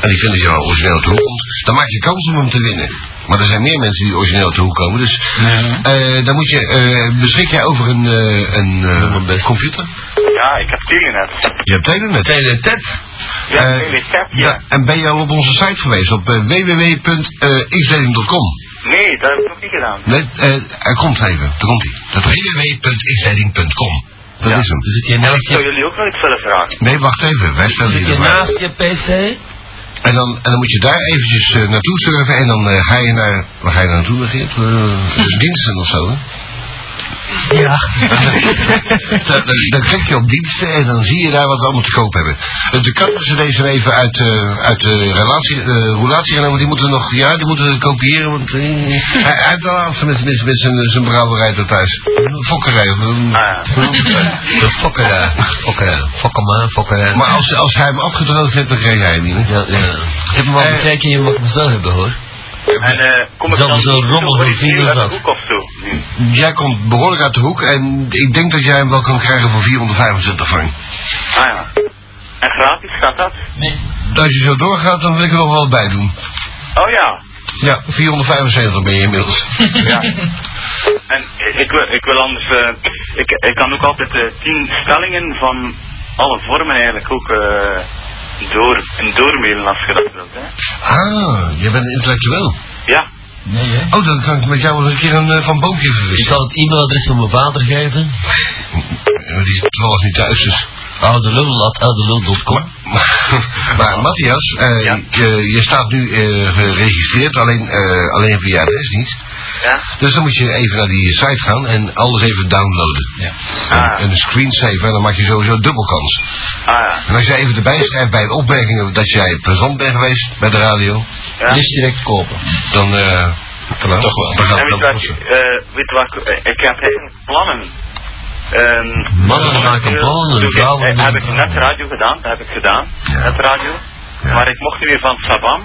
en ik vind dat je wel origineel uit de hoek komt, dan maak je kans om hem te winnen. Maar er zijn meer mensen die origineel uit de hoek komen, dus eh, dan moet je, eh, beschik jij over een, eh, een eh, computer? Ja, ik heb Telenet. Je hebt Telenet. Telenet. Ja, Eh, Telenet, ja. ja, En ben je al op onze site geweest, op uh, eh, www.xleiding.com? Nee, dat heb ik nog niet gedaan. Nee, eh, hij komt even, daar komt hij. Dat www.xleiding.com. Dat Ja. is hem. Zit je En ik naast zou je, jullie ook nog iets willen vragen. Nee, wacht even, wij stellen zit hier je, erbij. naast je PC? En dan, en dan moet je daar eventjes eh, naartoe surfen en dan eh, ga je naar... Waar ga je naartoe, Geert? Eh, diensten of zo, hè? Ja. Dan, dan, dan klik je op diensten en dan zie je daar wat we allemaal te koop hebben. Eh, De katten ze deze even uit, eh, uit de relatie, eh relatie genomen. Die moeten we nog... Ja, die moeten we kopiëren, want... eh, hij hij heeft de laatste met, met, met zijn, eh, zijn brouwerij tot thuis. Fokkerij. of, eh, Ah, De fokker, fokker, fokker man, fokker. Maar als, als hij hem afgedroogd heeft, dan krijg jij hem niet, Eh, hè? Ja, ja. Ik heb hem al bekeken, je mag hem zo hebben hoor. en eh, kom ik Dat dan is een rommel voor van iets nieuws vier uit de of hoek of zo? Nee. Jij komt behoorlijk uit de hoek en ik denk dat jij hem wel kan krijgen voor 425 frank. Ah ja. En gratis gaat dat? Als je zo doorgaat, dan wil ik er nog wel bij doen. Oh ja. Ja, 475 ben je inmiddels. ja. En ik- ik wil, ik wil anders... eh, ik, ik kan ook altijd eh, tien stellingen van alle vormen eigenlijk ook eh, door, doormailen als je dat wilt. Hè? Ah, je bent intellectueel. Ja. Nee, hè? Oh, dan kan ik met jou wel een keer een eh, van boomje Ik verwisselen. zal het e-mailadres van mijn vader geven. Maar die is toevallig niet thuis, dus. oudelul.oudelul.com Maar, maar Matthias, eh, Ja. je, je staat nu eh, geregistreerd, alleen, eh, alleen via adres niet. Ja. Dus dan moet je even naar die site gaan en alles even downloaden. Ja. Ah. En, en een screensaver, en dan maak je sowieso dubbel kans. Ah ja. En als jij even erbij schrijft bij de opmerkingen dat jij plezant bent geweest bij de radio, ja. Liefst direct kopen. dan... eh kan dat toch wel. Dan gaat het En weet wel wat, kosten. eh, weet wat, ik- eh, ik heb eigenlijk plannen. Ehm, Mannen maken momenteel plannen, doe ik- vrouwen eh, doen Heb ik plannen. net radio gedaan, dat heb ik gedaan, Ja. net radio. Ja. Maar ik mocht nu weer van Sabam.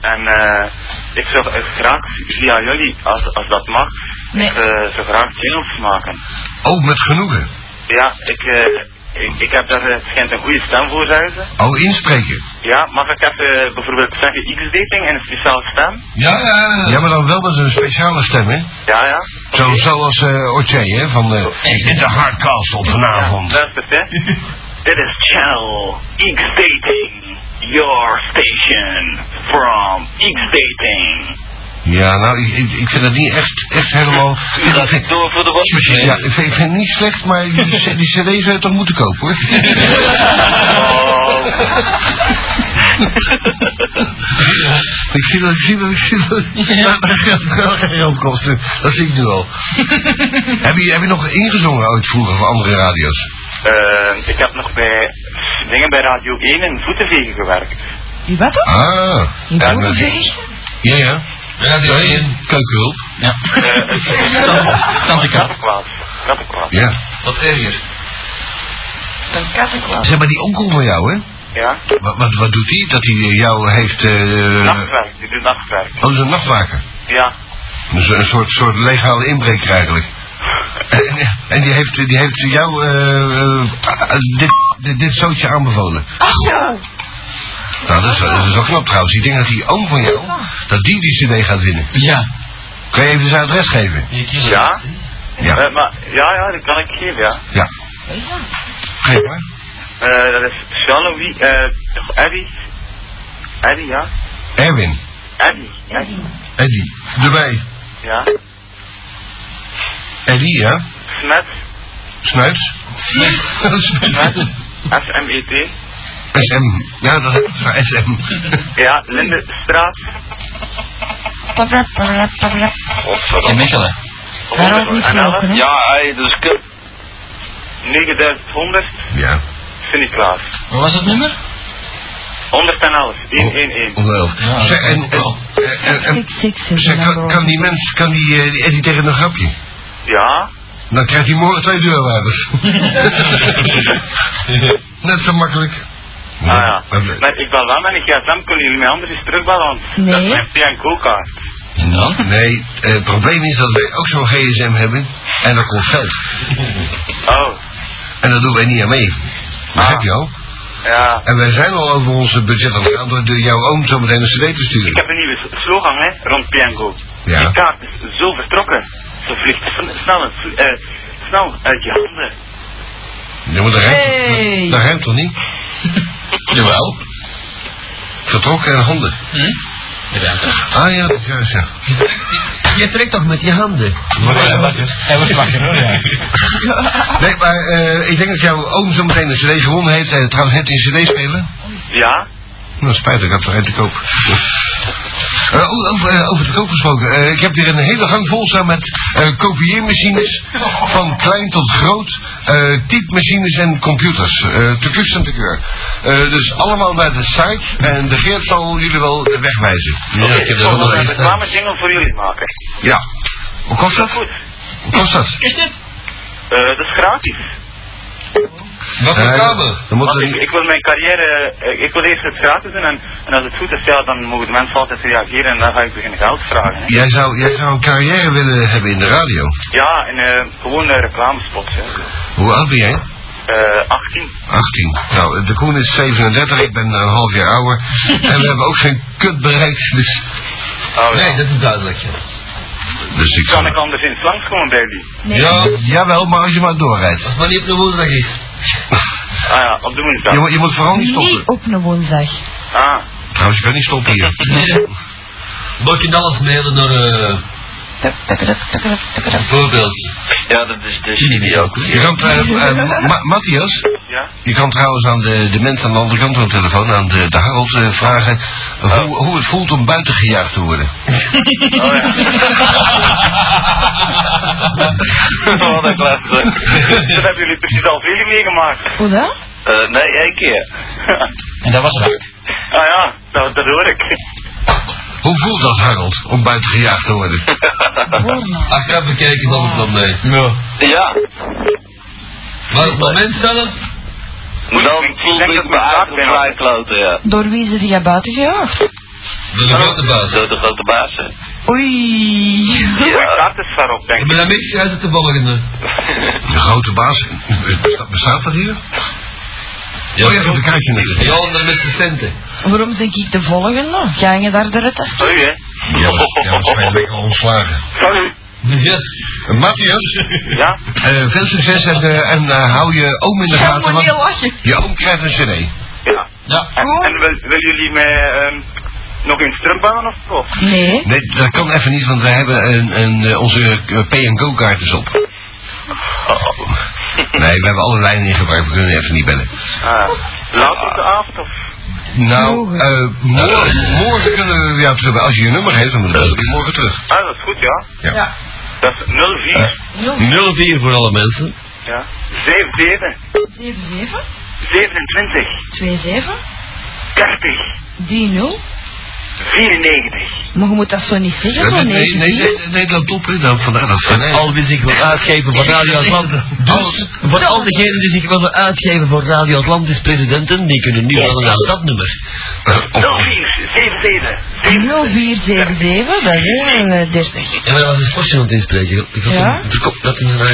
En eh, ik zou eh, graag via jullie, als, als dat mag, Nee. ik eh, zou graag jingles maken. Ook met genoegen. Ja, ik, eh, Ik, ik heb daar, eh, het schijnt een goede stem voor, zeggen ze. Oh, inspreken. Ja, mag ik even eh, bijvoorbeeld zeggen X-dating en een speciale stem? Ja, ja. Ja, maar dan wel met een speciale stem, hè? Ja, ja. Zo, zoals eh Otje, hè? Van eh ik zit de Hardcastle vanavond. Luister, hè. Dit is Channel X-dating. Your station from X-dating. Ja, nou, ik, ik, ik vind dat niet echt, echt helemaal... Ik Dat vind- ik door voor de wasmachine. ja, ik vind, ik vind het niet slecht, maar die, c- die cd's zou je toch moeten kopen, hoor. Oh, ik zie dat, ik zie dat, ik zie dat. Dat gaat geen geld kosten. Dat zie ik nu al. heb, je, heb je nog ingezongen ooit vroeger voor andere radio's? Eh, ik heb nog bij dingen bij Radio 1 in voetenvegen gewerkt. In wat dan? Ah. In ja, Boerenveeg? maar- Ja, ja. Radio Nee. 1, keukenhulp. Ja. Eh, Tante Kat. Kattenkwaad. Kattenkwaad. Ja. Wat erger. Een kattenkwaal. Zeg maar, die onkel van jou, hè? Ja. Wat, wat, wat doet hij? Dat hij jou heeft... eh Nachtwerk. Die doet nachtwerk. oh, dat is een nachtwaker. Ja. Dus een soort, soort legale inbreker eigenlijk. En, en die, heeft, die heeft jou eh, eh, dit, dit, dit zootje aanbevolen. Nou, dat is, dat is wel knap trouwens. Ik denk dat die oom van jou, dat die die cd gaat winnen. Ja. Kan je even zijn adres geven? Ja? Ja. Eh, maar, ja, ja, dat kan ik geven, ja. Ja. Geef maar. Eh, dat is Jean-Louis, eh, of Eddie. Eddie, ja. Erwin. Eddie. Eddie. Eddie. Erbij. Ja. Eddie, ja. Smet. Snuits. Snuits. S-M-E-T. SM. Ja, dat is SM. Ja, Lindenstraat. Godverdomme. Mechelen. Daar ook niet gelopen, hè? Ja, hé, dus kut. 9100. Ja. Sint-Niklaas. Wat was het nummer? 111. 111. Ongeloof. Ja, Zeg, en, dat klopt. en, en, en- Six, six is zeg, de kan, number kan die mens, kan die, eh, die Eddie tegen een grapje? Ja. Dan krijgt hij morgen twee deurwaarders. Net zo makkelijk. Ah ja. Ja, Maar ik bel wel met een gsm. Kunnen jullie mij anders eens terugbellen? Want Nee. Dat is mijn PNK-kaart. En dan? Nee, eh, het probleem is dat wij ook zo'n gsm hebben en dat kost geld. Oh. En daar doen wij niet aan mee. Begrijp je al? Ja. En wij zijn al over onze budget aan het gaan door, door jouw oom zo meteen een cd te Ik sturen. heb een nieuwe s- slogan, hè, rond PNGO. Ja. Die kaart is zo vertrokken. Ze vliegt sn- snel, en vlie- eh, snel uit je handen. Ja, maar dat ruimt, Hey. dat, dat ruimt toch niet? Jawel. Vertrokken en handen. Hm? Ah ja, dat is ja. Je trekt toch met je handen? Hij was wakker hoor, ja. Nee, maar eh, ik denk dat jouw oom zo meteen een cd gewonnen heeft. Eh, trouwens, heeft hij een cd spelen? Ja? Nou, spijtig, ik had er uit te koop. Eh, oh, over, eh, over te koop gesproken. Eh, ik heb hier een hele gang vol staan met eh, kopieermachines. Van klein tot groot. eh typemachines en computers. eh te kus en te keur. Eh, dus allemaal bij de site. En de Geert zal jullie wel de weg wijzen. Oké, ik zal wel een Ja. reclame jingle voor jullie maken. ja. Hoe kost dat? Goed. Hoe kost dat? Eh, dat is gratis. Wat voor kabel? kabel? Eh, Dan moet Want er ik, ik wil mijn carrière, eh, ik wil eerst het gratis doen en, en als het goed is, ja, dan mogen de mensen altijd reageren en dan ga ik beginnen geld vragen. Hè. Jij zou, jij zou een carrière willen hebben in de radio. Ja, en eh, gewoon eh, reclamespots. Hè. Hoe oud ben jij? Eh, 18. 18. Nou, de Koen is 37, ik ben een half jaar ouder. En we hebben ook geen kut bereikt, dus... Oh, ja. dat is duidelijk, ja. Dus ik... Kan ik anders eens langskomen bij jullie? Ja, jawel, maar als je maar doorrijdt. Als het maar niet op de woensdag is. Ah ja, op de woensdag. Je, moet- je moet vooral niet stoppen. Niet op een woensdag. Ah, Trouwens, je kan niet stoppen hier. Moet je alles mailen naar... eh, Bijvoorbeeld. Ja, dat is de studio. Je kan, eh eh, Ma- Matthias, ja. je kan trouwens aan de, de mensen aan de andere kant van de telefoon, aan de, de Harold, eh, vragen hoe, hoe het voelt om buiten gejaagd te worden. Oh ja. Oh, dat klopt. Dat hebben jullie precies al veel meegemaakt. Hoe dan? Eh, nee, één keer. En dat was het. ah ja, dat, dat hoor ik. Hoe voelt dat, Harold, om buiten gejaagd te worden? Achteraf bekijken valt het wel mee. Ja. Ja, Maar op het moment zelf... dan voelde ik me eigenlijk vrij kloten, ja. Door wie is er die buiten gejaagd? Door de grote baas. Door de grote baas, hè. Oei. Ja, dat is daarop, denk Ik ik. ben daar niks uit te volgen. De grote baas. Bestaat- Bestaat dat hier? Oh ja, dat krijg je natuurlijk. Die andere met de centen. Waarom denk ik de volgende? Ga je daar de rutte? Sorry, hè. Ja, we- ja, we zijn lekker ontslagen. Sorry. Yes. Eh, Matthias, Ja? eh, veel succes en, eh, en eh, hou je oom in de Ja, gaten. moet niet Want lachen. je oom krijgt een cd. Ja. Ja. En, Goed. en wil, wil jullie mij ehm, nog in strumbangen of zo? Nee. Nee, dat kan even niet, want we hebben een, een, eh, onze eh, pay-and-go-kaart is op. Nee, we hebben alle lijnen ingebruikt, we kunnen even niet bellen. Ah, laat op de avond of... Nou, eh, morgen, morgen kunnen we jou terug. Als je je nummer geeft, dan moeten we morgen terug. Ah, dat is goed, ja. Ja. Dat is 04. 04 voor alle mensen. Ja. 77. 77 27. 27 30. 30. 94. Maar je moet dat zo niet zeggen, zo nee, nee. nee, nee, nee, nee, dat op, hè, dan vandaar dat. Nee. Al wie zich wil uitgeven voor Radio Atlantis. Dus, voor al diegenen die zich willen uitgeven voor Radio Atlantis presidenten, die kunnen nu wel naar dat nummer. Oh. Of- 04. 77. 0477, dat is eh, 30. En daar was een sportje aan het inspreken. Ik had Ja? een- er komt- Dat is een Ja,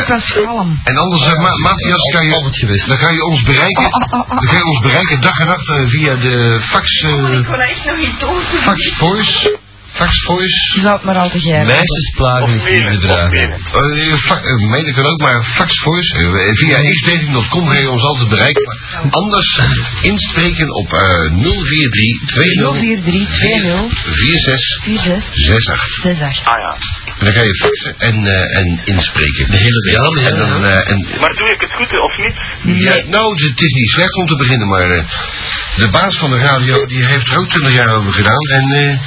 ik was kalm. eh, En anders, eh, Ma- Matthias, kan je, Altijd geweest. dan kan je ons bereiken. Dan kan je ons bereiken dag en nacht eh, via de fax, eh, kon echt nog niet doen. fax voice. Fax voice. Je zou het maar al te geven. Meisjesplagen is hier bedragen. Eh, fa- eh, mailen kan ook, maar fax voice. eh, via xdating.com kan je ons altijd bereiken. Maar Anders inspreken op eh 043 20 0432046668. 46 68. Ah ja. En dan ga je faxen en, eh, en inspreken. De hele wereld. En dan, eh, en, Maar doe ik het goed of niet? Ja, nou, het is niet slecht om te beginnen, maar eh, de baas van de radio die heeft er ook 20 jaar over gedaan. En eh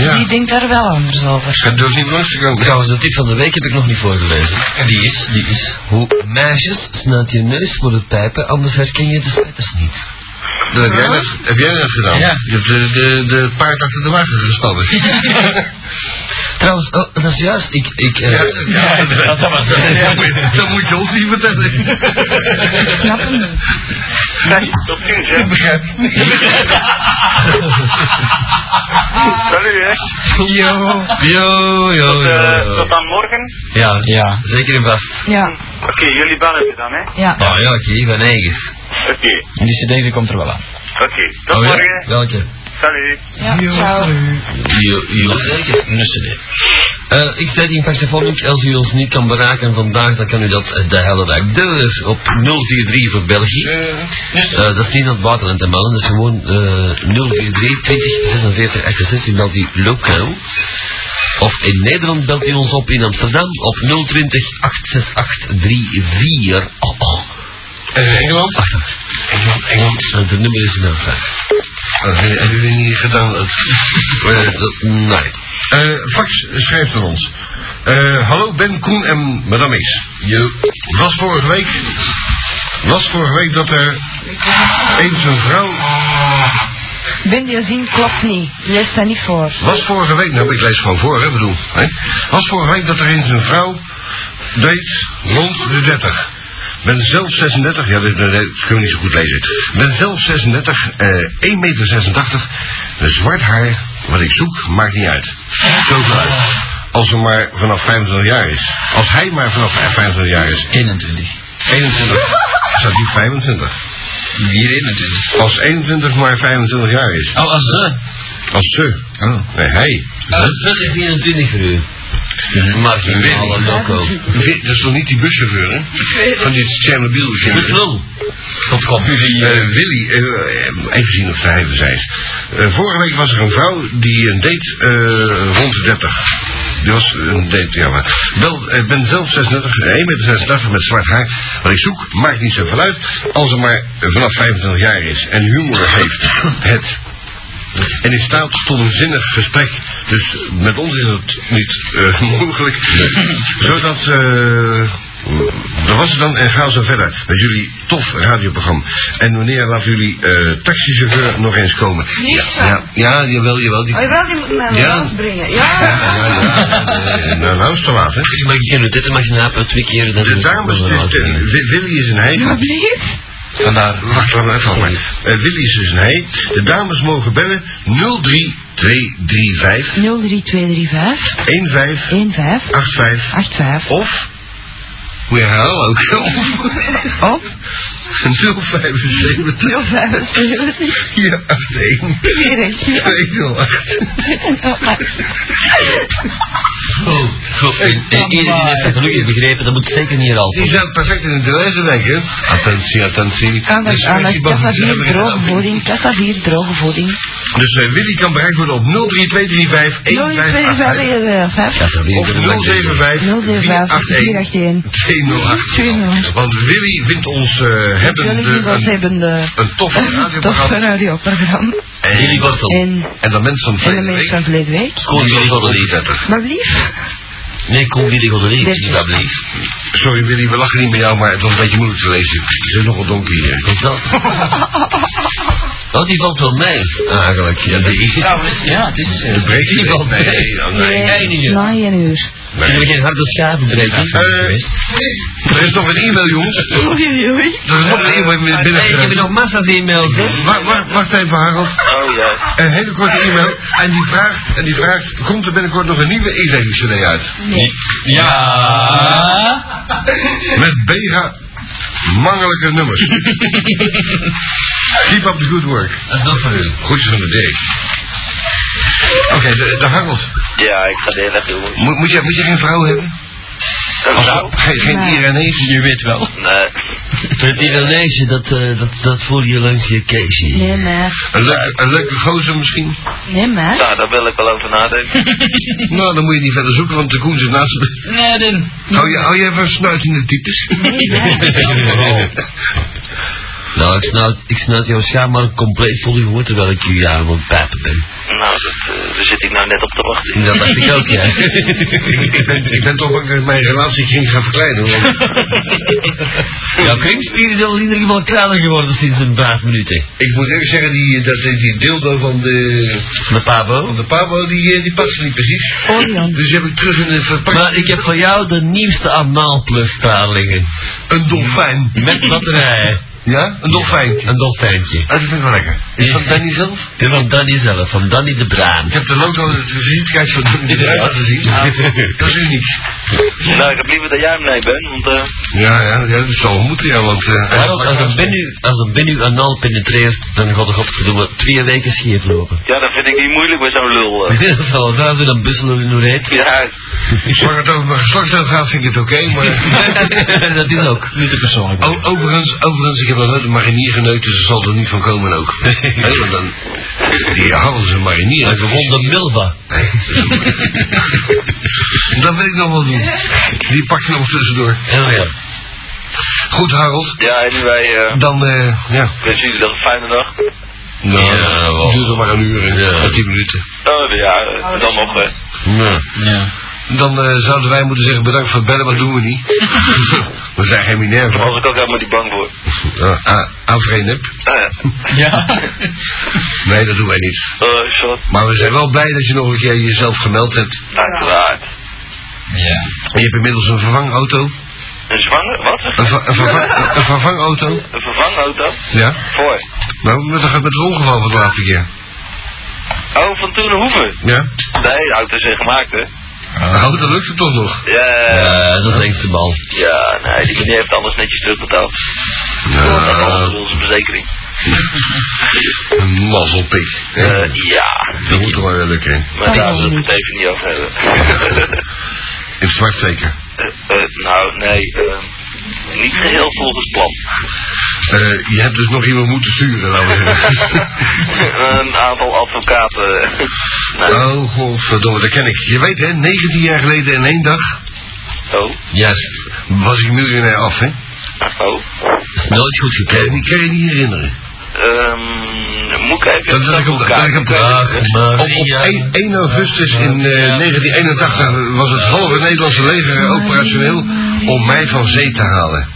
ja, Die denkt daar wel anders over. dat durft niet langs te gaan. Trouwens, de tip van de week heb ik nog niet voorgelezen. En die is? Die is. Hoe meisjes snuit je neus voor het pijpen, anders herken je de spijters niet. Dat heb, jij dat, heb jij dat gedaan? Ja. Je hebt de, de, de paard achter de wagen gestapt. Trouwens, oh, dat is juist. Ik, ik, eh, dat moet je ons niet vertellen. Ik snap hem niet. Zeg, tot ziens, hè. Salut, hè. Yo. Yo, yo, Tot, eh, yo. tot aan morgen. Ja, ja, zeker en vast. Ja, Oké, jullie bellen me dan, hè. ja. Ah ja, oké, van eigens. Oké. Die cd die komt er wel aan. Oké. Tot Oh, ja? morgen. Welke? Salut. ja. Ciao. Ja, zeker. Een cd. Eh, ik zei in Faxafonic, als u ons niet kan bereiken vandaag, dan kan u dat eh, de hele dag door op 043 voor België. Eh, dat is niet aan het buitenland te melden, dat is gewoon eh 043 20 46 68 belt u lokaal. Of in Nederland belt u ons op in Amsterdam op 020 868 34. Oh, oh. Eh, Engeland? Engeland, Engeland. Het nummer is nou graag. Dat hebben jullie niet gedaan. Eh, dat- Nee. Eh, fax schrijft aan ons. Eh, hallo Ben, Koen en madame X. Je was vorige week... Was vorige week dat er eens een vrouw... Ben je zin klopt niet. Lees daar niet voor. Was vorige week... Nou, ik lees gewoon voor, hè, bedoel. Hè? Was vorige week dat er eens een vrouw deed rond de 30. Ben zelf 36, ja, dat, dat- dat kunnen we niet zo goed lezen. Ben zelf 36, eh 1,86 meter. zwart haar, wat ik zoek, maakt niet uit. Zoveel uit. Als ze maar vanaf 25 jaar is. Als hij maar vanaf 25 jaar is. 21. 21. Zat hij 25? Hier 21. Als 21 maar 25 jaar is. Oh, als ze. Als ze. Nee, hij. Als ze is 24 voor u. Maar geen Winnie. loco. Weet- Dat is toch niet die buschauffeur, hè? Van dit Tsjernobyl. Dus wel. Tot kop. Eh, Willy, eh, even zien of hij even zijn. Eh, vorige week was er een vrouw die een date eh, rond de 30. Die was een date, ja maar. Wel, eh, ik ben zelf 36, 1,86 meter met zwart haar. Wat ik zoek, maakt niet zoveel uit. Als ze maar eh, vanaf 25 jaar is en humor heeft. Het. En in staat tot een zinnig gesprek. Dus met ons is dat niet eh, mogelijk. Zodat. eh dat was het dan en ga zo verder met jullie tof radioprogramma. En wanneer laten jullie eh taxichauffeur nog eens komen? Niet ja, zo. ja, ja, jawel, jawel. Die... Oh, jawel, die moet mij Ja. wel brengen. Ja. ja, ja, ja. Eh, Nou, nou is het te laat, hè? Maar ik ken het dit mag napen twee keer. dan- De dames, dus, de- Wi- Willy is een hij. Ja, please. Vandaar, wacht, laat maar even. af, maar. Eh, Willy is dus een hij. De dames mogen bellen 03 235 03235 15 15 85 85 of moet je herhalen ook. op 075 481 208. 075 4 Oh, god. Eh, Iedereen heeft het gelukkig begrepen, dat moet zeker niet al. Die zijn perfect in het lezen, denk ik. Attentie, attentie. Aandacht, De aandacht. selectieband Kassa is 4 helemaal droge in de voeding. Kassa 4 droge voeding. hand. Dus eh, Willy kan bereikt worden op 03235 1585 Kassa 025 4. of 075 481 481 208. Want Willy wint ons eh hebben Jullie de, dat een, hebben de een tof toch radioprogramma. een radioprogramma. En Jullie wortel. En En dat mensen van en de mensen van verleden week. Kom jullie godelie. Maar lief, Nee, kom jullie godelie. Dit is- Niet dat blieft. Sorry Willy, we lachen niet met jou, maar het was een beetje moeilijk te lezen. Het is nogal donker hier. Is dat? Oh, die valt wel mee. Ah, Eigenlijk, ja. Die, Ja, het is... eh, het breekt die valt Nee, mee. nee, nee. nee, nee. eh, na 1 uur. Kunnen we geen harde schaven breken? Eh, er is nog een e-mail, jongens. Oei, oei, oei. Er is nog een e-mail Eh, ik heb binnen. nog massa's e-mails, hè? Wacht, wacht, wacht even, Harold. Oh ja. Een hele korte e-mail. En die vraagt, en die vraagt, komt er binnenkort nog een nieuwe e-zevingscd uit? Ja. Met bega mangelijke nummers. Keep up the good work. Dat is dat voor u. Groetjes van de Dirk. Oké, de, de Harold. Ja, ik ga het heel erg doen. Moet, moet, je, moet je geen vrouw hebben? Een vrouw? Geen, geen Nee. Irenees? Je weet wel. Nee. Het Iranese, dat, eh, dat, dat voel je langs je keesje. Nee, maar. Een, leuke- een leuke gozer misschien? Nee, maar. Nou, daar wil ik wel over nadenken. Nou, dan moet je niet verder zoeken, want de koen zit naast me. Nee, dan. Hou je, hou je even snuit in de types? nee. Nou, ik snuit, ik snuit jouw schaam maar compleet vol uw woord terwijl ik jullie aan het pijpen ben. Nou, dat, eh, daar zit ik nou net op te wachten. Dat dacht ik ook, ja. ik, ben, ik ben toch bang dat ik mijn relatiekring ga verkleinen. want Jouw kringspier is al in ieder geval kraler geworden sinds een vijf minuten. ik moet eerlijk zeggen, die, dat, die dildo van de, De Pabo. van de Pabo, die, eh, die past niet precies. Orion. Dus die heb ik terug in de verpakking. Maar ik heb voor jou de nieuwste anaalplug klaar liggen. Een dolfijn. Met batterijen. Ja? Een dolfijn. Een dolfijntje. Ah, dat vind ik wel lekker. Is dat Danny zelf? En van Danny zelf, van Danny de Braan. Ik heb de logo, het visitekaartje van Danny de Bruin laten zien. Dat is uniek. Nou, ik heb liever dat jij hem nee bent, want eh, Ja, ja, ja, dat zal wel moeten, ja, want... eh, Harold, als een bin u- als een bin u anaal penetreert, dan gaat de godverdomme twee weken scheef lopen. ja, dat vind ik niet moeilijk bij zo'n lul. eh. Dat zal wel zo dan busselen in hoe heet. Ja, Zolang het over mijn geslachtsuit gaat, vind ik het oké, maar... dat is ook. Niet te persoonlijk. O, overigens, overigens, ik heb nog nooit een marinier geneukt, dus er zal er niet van komen ook. Hé, want dan... Die houden ze marinier. Een gewonde milva. Dat wil ik nog wel doen. Die pak je nog tussendoor. Oh ja. Goed, Harold. ja anyway, eh, Dan, eh, ja. ik wens jullie nog een fijne dag. Nou, Ja, wel. duurt er maar een uur en Ja. en tien minuten. Oh ja, eh, dan nog. eh. Nee. Ja. Dan eh, zouden wij moeten zeggen bedankt voor het bellen, maar dat doen we niet. we zijn geen Daar minerva. was ik ook helemaal niet bang voor. Uh, Afreenep? Nou ja, Nee, dat doen wij niet. oh, shot, Maar we zijn wel blij dat je nog een keer jezelf gemeld hebt. uiteraard. En je hebt inmiddels een vervangauto. Een zwanger? Wat? Een, ver- een, vervang- een- een vervangauto? Een vervangauto? Ja. Voor. Nou, dat gaat met het ongeval van de laatste keer. Oh, van toen hoeven. Ja. Nee, auto's zijn gemaakt, hè? Nou, dat lukt het toch nog. Ja, Ah. Eh, dat is links de bal. ja, nee, die meneer heeft alles netjes terugbetaald. Dat was Nou, onze verzekering. een mazzelpik. Eh, Ja. ja, Dat moet toch wel weer lukken. maar daar zullen we het even niet over hebben. In het zwart zeker. Eh, eh, nou, nee, eh, niet geheel volgens plan. Eh, je hebt dus nog iemand moeten sturen, laten we zeggen. een aantal advocaten. Nou, nee. Oh, godverdomme, dat ken ik. Je weet hè, 19 jaar geleden in één dag Oh, Juist. was ik miljonair af, hè? oh. Is nooit Kan goed je, gekregen. niet- kan je niet herinneren. Ehm, moet ik even... Dat is ik op de dat ik op de- Op, op 1, 1 augustus in eh, 1981 was het halve Nederlandse leger operationeel om mij van zee te halen.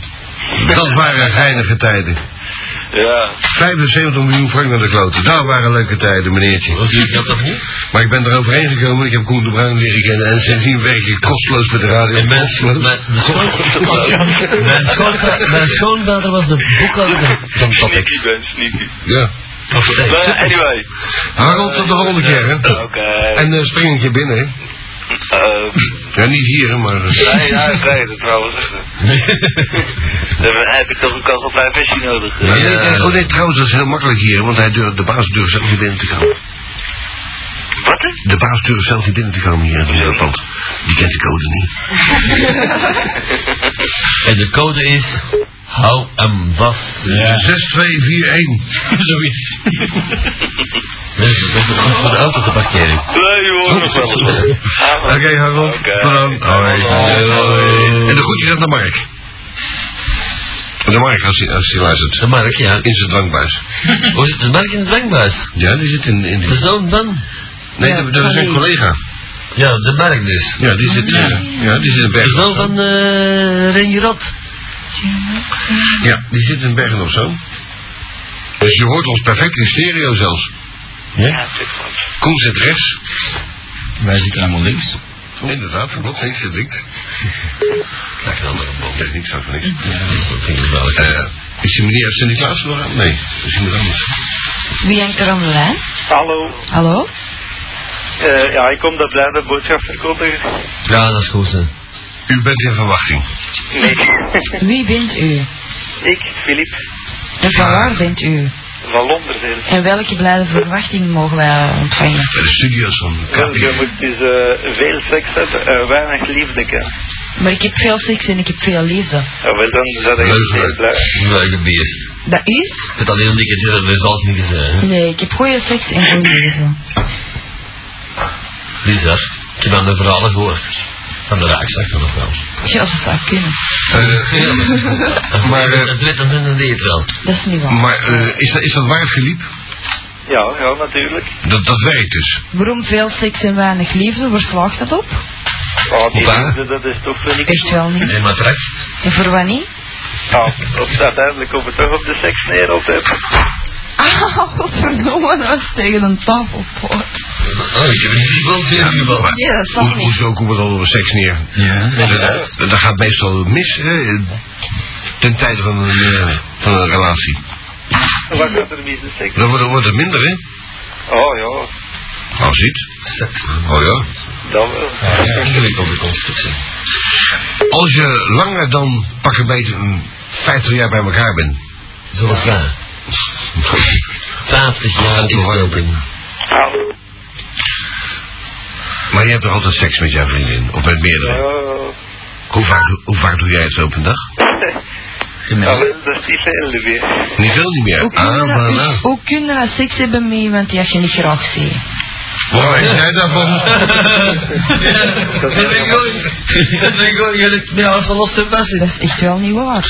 Dat waren geinige tijden. Ja, 75 miljoen frank naar de kloten. Dat waren leuke tijden, meneertje. Zie je dat toch niet? Maar ik ben er overheen gekomen. Ik heb Koen de Bruin leren kennen. En sindsdien werk ik kosteloos met de radio. En mijn, mijn, mijn, Oh, schoonvader, mijn schoonvader was de boekhouder van- van Topics. sneaky ben, sneaky. Ja. Nog steeds. Maar anyway. Harold, tot de volgende keer, hè. Oké. En eh spring een keer binnen, hè. Eh, Ja, niet hier, hè, maar... eh, Nee, ja, ik weet het trouwens. echt. Dan heb ik toch een kogelpijpversie nodig. Ja, Eh, nee, nee, oh nee, trouwens, dat is heel makkelijk hier, want hij durft, de baas durft zelf niet binnen te komen. Wat? De baas durft zelf niet binnen te komen hier in het pand. Die kent de code niet. En de code is... Hou hem vast. Eh, Ja. 6241. Zoiets. Dat is Dus dat is goed voor de autoverparkering. Nee, joh, nog wel. Ah, Oké, maar- Harold. Oké. Tot dan. Hoi. Hoi. En de groetjes aan de Mark. De Mark, als hij, als hij luistert. De mark, ja. In zijn dwangbuis. Hoe zit de mark in de dwangbuis? Ja, die zit in... in De die... zoon dan? Nee, dat, dat is een collega. Ja, de mark dus. Ja, die zit, eh, ja, die zit in De Bergen. zoon van eh Renje Rot. Ja, die zit in Bergen op Zoom. Dus je hoort ons perfect in stereo zelfs. Ja. Koen zit rechts. Wij zitten allemaal links. Inderdaad, dat klopt. Links zit links. Lijkt een andere boom. Nee, niks aan van niks. Eh, is die meneer uit Sint-Niklaas nog aan? Nee, dat is iemand anders. Wie hangt er aan de lijn? Hallo. Hallo? Eh, ja, ik kom dat blijven boodschap verkondigen. Ja, dat is goed. Hè. U bent in verwachting. Nee. Wie bent u? ik, Filip, En van waar bent u? van Londen. zijn. En welke blijde verwachting mogen wij ontvangen? Bij de studio's van Ja, Je KPN. moet dus eh, veel seks hebben en weinig liefde. hè. Maar ik heb veel seks en ik heb veel liefde. Ja, wel, dan zijn we heel blij. Leuke beest. Dat is? Ik heb alleen een dikke zin, dat is alles niet gezegd. hè. Nee, ik heb goede seks en goede liefde. Bizar. Ik heb aan de verhalen gehoord. Van de raakzak dan nog wel. Ja, dat zou kunnen. Eh, maar eh, dat weet dan hun weet wel. Dat is niet waar. maar eh, is, dat, is dat waar, Filip? Ja, ja, natuurlijk. Dat, dat werkt dus. Waarom veel seks en weinig liefde? Waar slaagt dat op? Oh, die Hoppa. liefde, dat is toch zo niks. Echt wel niet. En matras. En voor wat niet? Ja, op, uiteindelijk komt het toch op de seks neer altijd. Ah, godverdomme, dat was tegen een tafelpoot. Oh, ik heb niet gezien in ieder geval. Ja, Hoe, dat zal niet. hoezo komt het al over seks neer? Ja. Dat, dat- dat gaat meestal mis, hè, ten tijde van een, eh, van een relatie. Wat gaat er mis de seks? Dan wordt, wordt het minder, hè? Oh ja, Nou, ziet. Oh ja. dat wel. Ja, ingewikkelde constructie. Als je langer dan pak een beetje een 50 jaar bij elkaar bent. Zoals ja. 50 jaar ingewikkeld. Ah, Maar je hebt nog altijd seks met jouw vriendin. Of met ja, meerdere. Hoe vaak, hoe vaak doe jij het zo op een dag? Ah, wel, dat is niet veel meer. Niet veel niet meer. Hoe kun Ah, je maar dat- nou. Hoe kun je dat seks hebben met iemand die je niet graag ziet? Wat weet jij daarvan? Dat is ik Dat ben ik gewoon. Jullie met alles van los te passen. Dat is echt wel niet waar.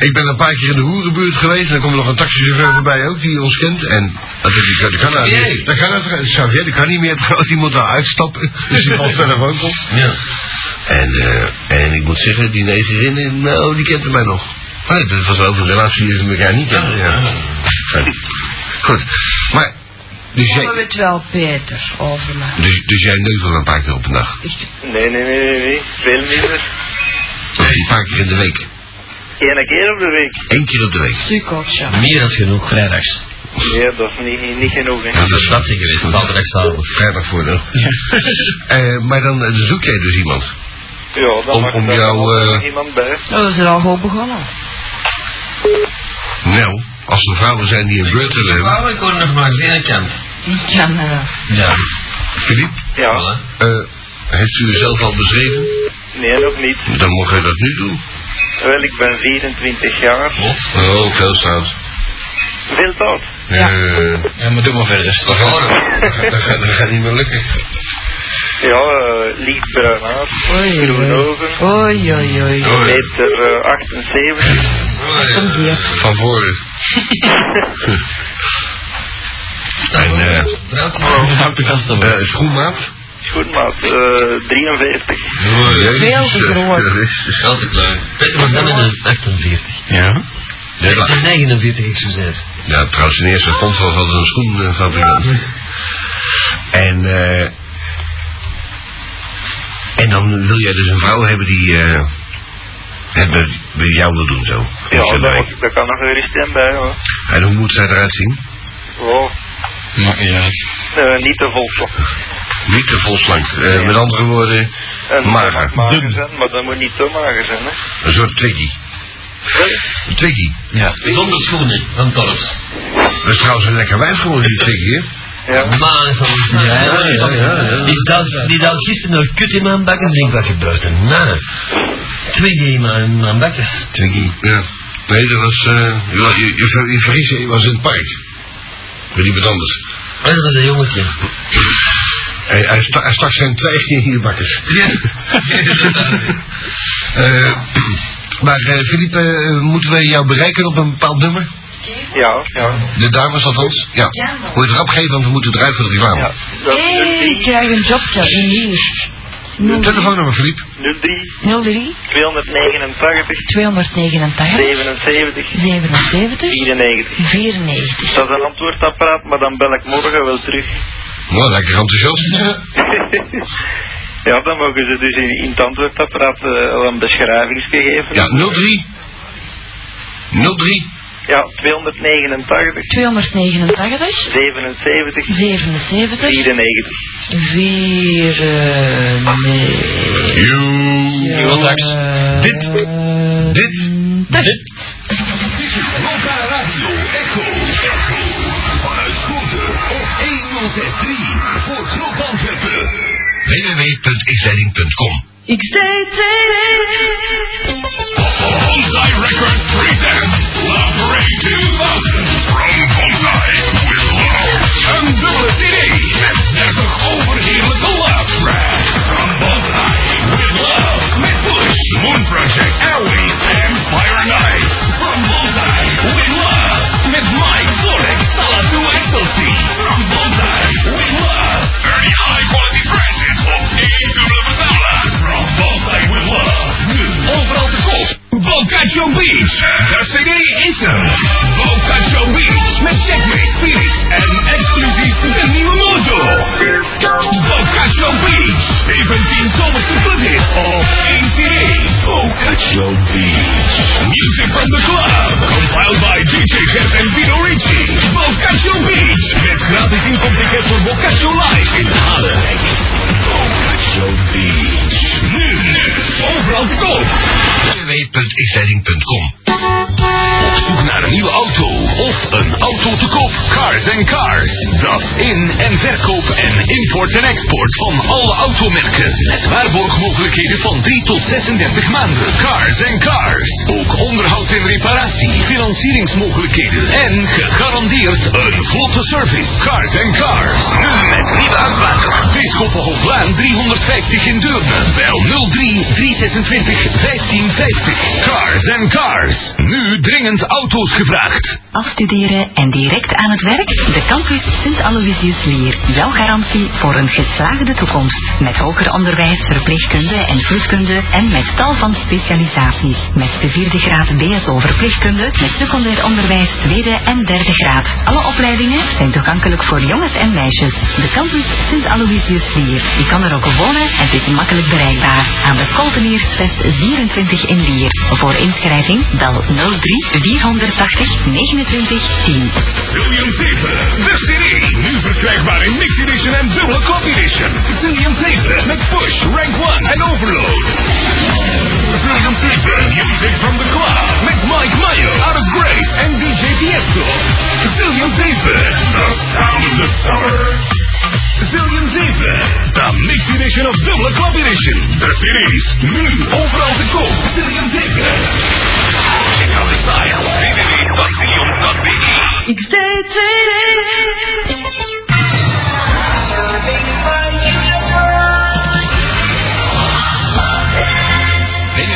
Ik ben een paar keer in de hoerenbuurt geweest. En dan komt nog een taxichauffeur voorbij ook die ons kent. En dat, heb ik, dat kan nou niet. Dat kan, nou- Xavier, dat kan niet meer. trouwens, Die moet daar uitstappen. Dus die valt zelf ook op. Ja. En, eh, en ik moet zeggen, die negerin, nou, die kent mij nog. Oh, ja, dat was over een relatie die ze elkaar niet kennen. Ja. Ah. Fijn. Goed, maar, dus Vonden we jij, het wel beter over mij? dus, dus jij neukt wel een paar keer op een dag? Echt, Nee, nee, nee, nee, nee. Veel minder. Een paar keer in de week? Eén keer op de week. Eén keer op de week? sukkeltje. Meer dan genoeg vrijdags. Nee, dat is niet, niet genoeg, hè. Dat is dat zeker is. Zaterdagavond. Vrijdag voor de. Eh, maar dan eh, zoek jij dus iemand? Ja, dan Om- mag om er jou, nog eh, iemand bij. Dat is er al goed begonnen. Nou, als er vrouwen zijn die een beurt willen hebben. ik hoor nog maar eens één kant. Ik kan eh, Ja. Filip, Ja, eh, heeft u zelf al beschreven? nee, nog niet. Dan mocht jij dat nu doen. Wel, ik ben 24 jaar. Oh, veel staat. Veel dat. Ja. ja, maar doe maar verder. Eh, Dat gaat, dat gaat, dat gaat niet meer lukken. Ja, eh, lichtbruin haar. Oei, Groen oei. ogen. Oei, oei, oei. Oh, ja. Meter eh, 78. Kom hier. Van voren. en, eh Brouwt u vast op. eh, schoenmaat? Goed, maat. eh, 43. eh, Veel te groot. Grote kleur. Peter van Demmen is 48. Ja? Ja, Ik ja. ben 49, ik zou zeggen. ja, trouwens, de eerste sponsor van een schoenfabrikant. En, eh en dan wil jij dus een vrouw hebben die eh het met, met jou wil doen zo. Ja, dat, dat kan nog weer eens stem bij, hoor. En hoe moet zij eruit zien? Wow. Maakt niet uit. Eh, niet te vol toch. Niet te vol slank. Eh, Met andere woorden, En eh, mager. Mager zijn, maar dat moet niet te mager zijn, hè. Een soort twiggy. Twiggy. Ja. Zonder schoenen, van Torps. Dat is trouwens een lekker wijf geworden, die twiggy, hè? Ja. Maar zo is het. Ja, ja, ja, ja. Die dans, die dans gisteren nog kut in mijn bakken, denk wat gebeurt er nou? Twiggy in mijn, mijn bakken. Twiggy. Ja. Nee, dat was... eh, je, je, je, ver- je vergis je, je was in het park. Met iemand anders. Ah, dat was een jongetje. Hij, hij, sta- hij stak zijn twijgje in je bakkes. Ja. maar eh, Philippe, eh, moeten we jou bereiken op een bepaald nummer? Ja, ja. De dames althans? Ja. Ja. Moet je het rap geven, want we moeten eruit voor de reclame. Ja. Dat is Hey, ik 03, krijg een jobje in Nieuws. Een Telefoonnummer, Philippe. 03, 03 289, 289 77, 77 94. 94. Dat is een antwoordapparaat, maar dan bel ik morgen wel terug. Nou, lekker enthousiast. ja, dan mogen ze dus in, in het antwoordapparaat eh, al een beschrijvingsje geven. Ja, 03. 03. Ja, 289, 289 77, 77 94. eh, 94. You. Dit. Dit. Dit. Loka Radio Echo. Echo. Vanuit Groenten op 1063 voor Knop Antwerpen. www.xleiding.com Ik zei Bonsai Records presents Love Parade 2000 from Bonsai with love. Een dubbele CD met 30 overheerlijke love tracks. From Bonsai with love. Met Bush, Moon Project, Airways en Fire and Ice. From Bonsai with love. Met Mike Florek, Salatu Excelsi. From Bonsai with love. Early high quality prices op één dubbele betalen. From Bonsai with love. Nu overal te koop. Bocacho Beach. De CD is er. Bocacho Beach met checkmate, Felix en exclusief de nieuwe mojo. Bocacho Beach. 17 zomerse budget op één CD. Bocacho Beach. Music from the club. Compiled by DJ Jeff en Vito Ricci. Bocacho Beach. Met gratis inkomticket voor Bocacho Live in Halen. Bocacho Beach. Nu. Overal te koop. www.xleiding.com Op zoek naar een nieuwe auto of een auto te koop. Cars and Cars. Dat is in- en verkoop en import en export van alle automerken. Met waarborgmogelijkheden van 3 tot 36 maanden. Cars and Cars. Ook onderhoud en reparatie, financieringsmogelijkheden en gegarandeerd een vlotte service. Cars and Cars. Nu met nieuwe aanvraag. Bisschoppenhoflaan 350 in Deurne. Bel 03 326 1550. Cars and Cars. Nu dringend auto's gevraagd. Afstuderen en direct aan het werk? De campus Sint Aloysius Lier. Jouw garantie voor een geslaagde toekomst. Met hoger onderwijs, verpleegkunde en vroedkunde en met tal van specialisaties. Met de vierde graad BSO verpleegkunde, met secundair onderwijs tweede en derde graad. Alle opleidingen zijn toegankelijk voor jongens en meisjes. De campus Sint Aloysius Lier. Je kan er ook wonen en zit makkelijk bereikbaar. Aan de Kolteniersvest 24 in Lier. Voor inschrijving bel 03 480 29 10. William Taper, de CD. Nu verkrijgbaar in Mixed Edition en dubbele Copy Edition. William Taper met Push, Rank 1 en Overload. William Taper, music from the club. Met Mike Meyer, Out of Grace en DJ Tiesto. William Taper, the sound of the summer. Zillion Zeven. De Mixed Edition of Dubbele Club Edition. De series. Nu overal te koop. Zillion Zeven. Check out the site. www.zillion.be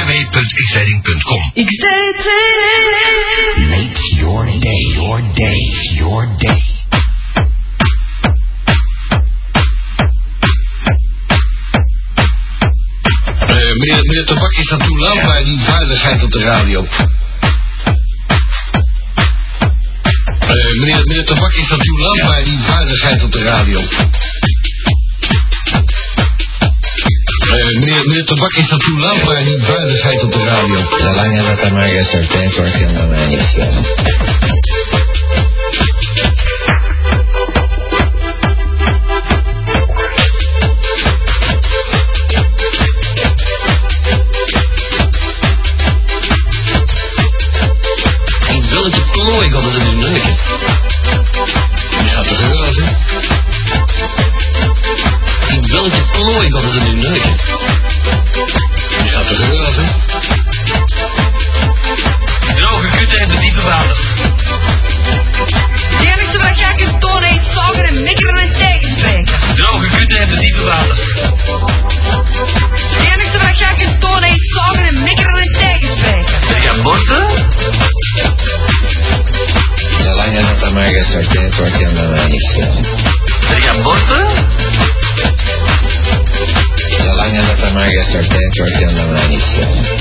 www.xleiding.com Make your day, your day, your day. Eh, meneer, meneer Tabak, is dat toelaatbaar, die veiligheid op de radio? Eh, meneer, meneer Tabak, is dat toelaatbaar, die veiligheid op de radio? Eh, meneer, meneer Tabak, is dat toelaatbaar, die veiligheid op de radio? Zolang dat er maar gesorteerd wordt, kan dat mij niet schelen. mij gesorteerd wordt, kan dat mij niet schelen. Er gaan borden? Zolang dat aan mij gesorteerd wordt, kan dat mij niet schelen.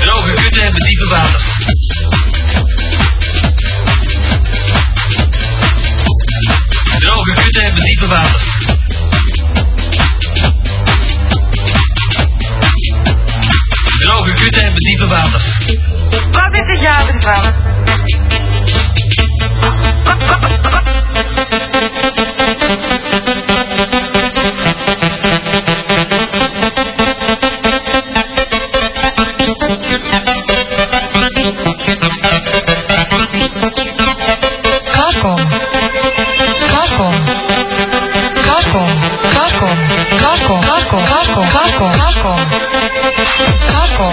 Droge kutten hebben diepe water. Droge kutten hebben diepe water. Droge kutten hebben diepe water. Wat ben ik jou ervan? Klaarkom. Klaarkom. Klaarkom. Klaarkom. Klaarkom. Klaarkom. Klaarkom. Klaarkom. Klaarkom.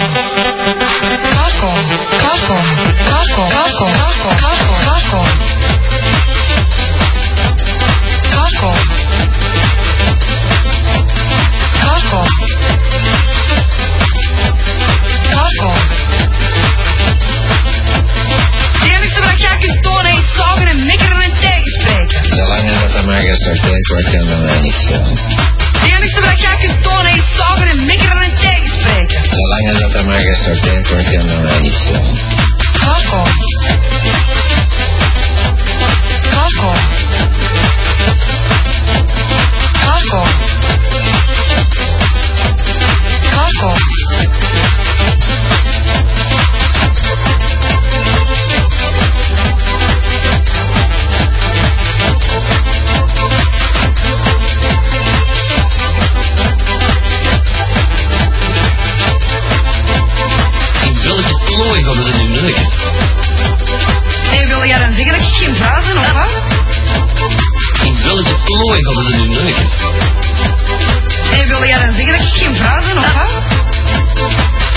Klaarkom. Klaarkom. Klaarkom. Klaarkom. Klaarkom. Klaarkom. Klaarkom. Klaarkom. Klaarkom. Klaarkom. Klaarkom. Eerlijkste wat jij gestoord heeft, zagen en mikkeren en tegenspreken. Zolang dat aan mij gesorteerd wordt, kan dat mij niet schelen. Eerlijkste wat jij gestoord heeft, zagen en mikkeren en tegenspreken. Zolang dat aan mij gesorteerd wordt, kan dat mij niet schelen. Klaarkom. Klaarkom. Klaarkom. Klaarkom. In welke plooi hadden ze nu liggen? En wil jij dan zeggen dat je geen vuizen of wat? In welke plooi hadden ze nu liggen? En wil jij dan zeggen dat je geen vuizen of wat?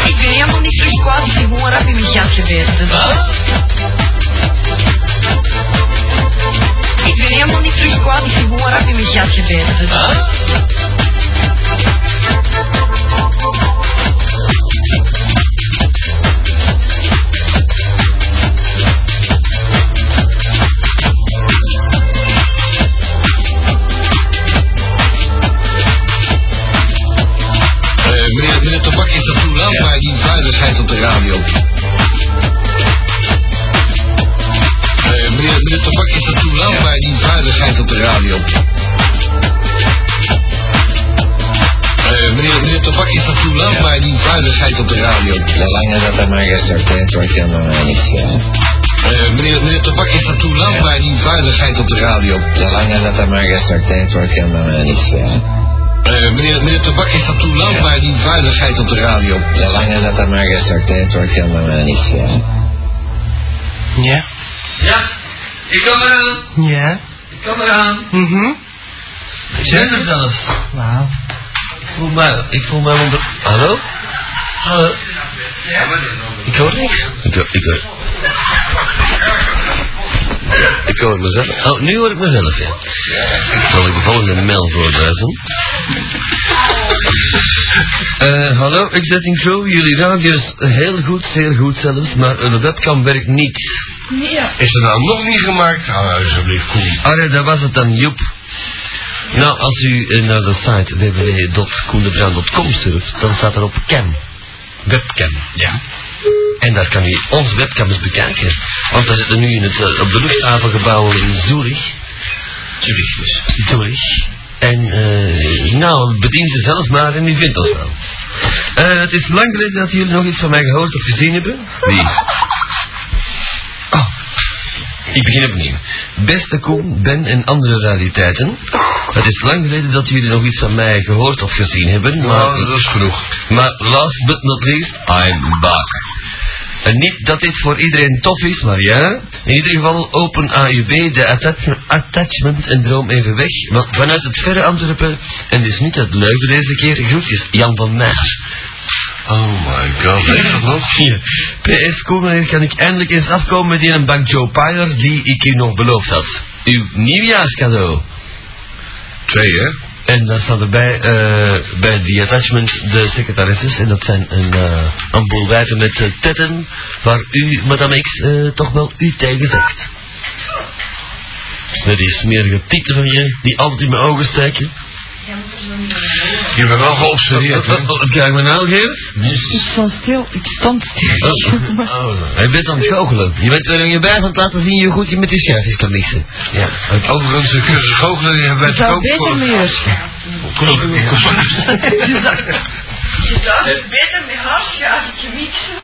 Ik ben helemaal niet zo kwaad, ik ben gewoon rap in mijn gat geweest. Dus Ah? Ik ben helemaal niet terug kwaad, ik ben gewoon rap in mijn gat geweest. Dus Ah? Eh, meneer, meneer Tabak is dat toelaat, maar die veiligheid op de radio. Eh, meneer, meneer Tabak is dat toelaat, maar die veiligheid op de radio. Eh, meneer, meneer Tabak is dat toelaat, maar die veiligheid op de radio. Zolang dat aan mij gesorteerd wordt, kan dat mij niet schelen. Eh, meneer, meneer Tabak is dat toelaat, maar die veiligheid op de radio. Zolang dat aan mij gesorteerd wordt, kan dat mij niet schelen. Eh, meneer, meneer Tabak is dat toelaat, maar die veiligheid op de radio. Zolang dat aan mij gesorteerd wordt, kan dat mij niet schelen. Ja. Ja, ik kom eraan. Ja. Ik kom eraan. Mhm. Ik ben er zelfs. Wauw. Ik voel mij, ik voel mij onder... Hallo? Hallo? Ik hoor niks. Ik, hoor- ik hoor... Ik hoor mezelf. Oh, nu hoor ik mezelf, ja. Zal ik de volgende mail voorlezen? Eh, hallo, ik zet in show. Jullie radio is heel goed, zeer goed zelfs, maar een webcam werkt niet. Ja. Is er nou nog niet gemaakt? Ah, alsjeblieft, Koen. Ah ja, dat was het dan, Joep. Nou, als u eh, naar de site www.koendebrand.com surft, dan staat er op cam. Webcam. Ja. En daar kan u onze webcams bekijken. Want we zitten nu in het, eh, op de luchthavengebouw in Zurich. Zurich dus. Zurich. En eh, nou, bedien ze zelf maar en u vindt ons wel. Eh, het is lang geleden dat jullie nog iets van mij gehoord of gezien hebben. Wie? Ik begin opnieuw. Beste Koen, Ben en andere rariteiten. Het is lang geleden dat jullie nog iets van mij gehoord of gezien hebben, maar... Nou, dat is genoeg. Maar last but not least, I'm back. En niet dat dit voor iedereen tof is, maar ja. In ieder geval open AUB de atta- attachment en droom even weg. Want vanuit het verre Antwerpen, en dus niet uit Leuven deze keer, groetjes Jan van Meijers. Oh my god, weet je dat nog? Ja. PS Koemeneer kan ik eindelijk eens afkomen met die een bank Joe Pyler die ik u nog beloofd had. Uw nieuwjaarscadeau. Twee, hè? En daar staat erbij, eh, bij die attachment, de secretaresses. En dat zijn een, eh, een boel wijven met eh, tetten, waar u, madame X, eh, toch wel u tegen zegt. Met die smerige tieten van je, die altijd in mijn ogen steken. Je bent wel geobsedeerd, hè? Wat krijg je me nou, Geert? Ik stond stil, ik stond stil. Oh, Hij bent aan het goochelen. Je bent weer in je bij van het laten zien hoe goed je met die schijfjes kan mixen. Ja. Overigens, de cursus goochelen die hebben Het wij zou ook beter voor... met je. Kom, ik kom. Je zou beter met haar schaafje mixen.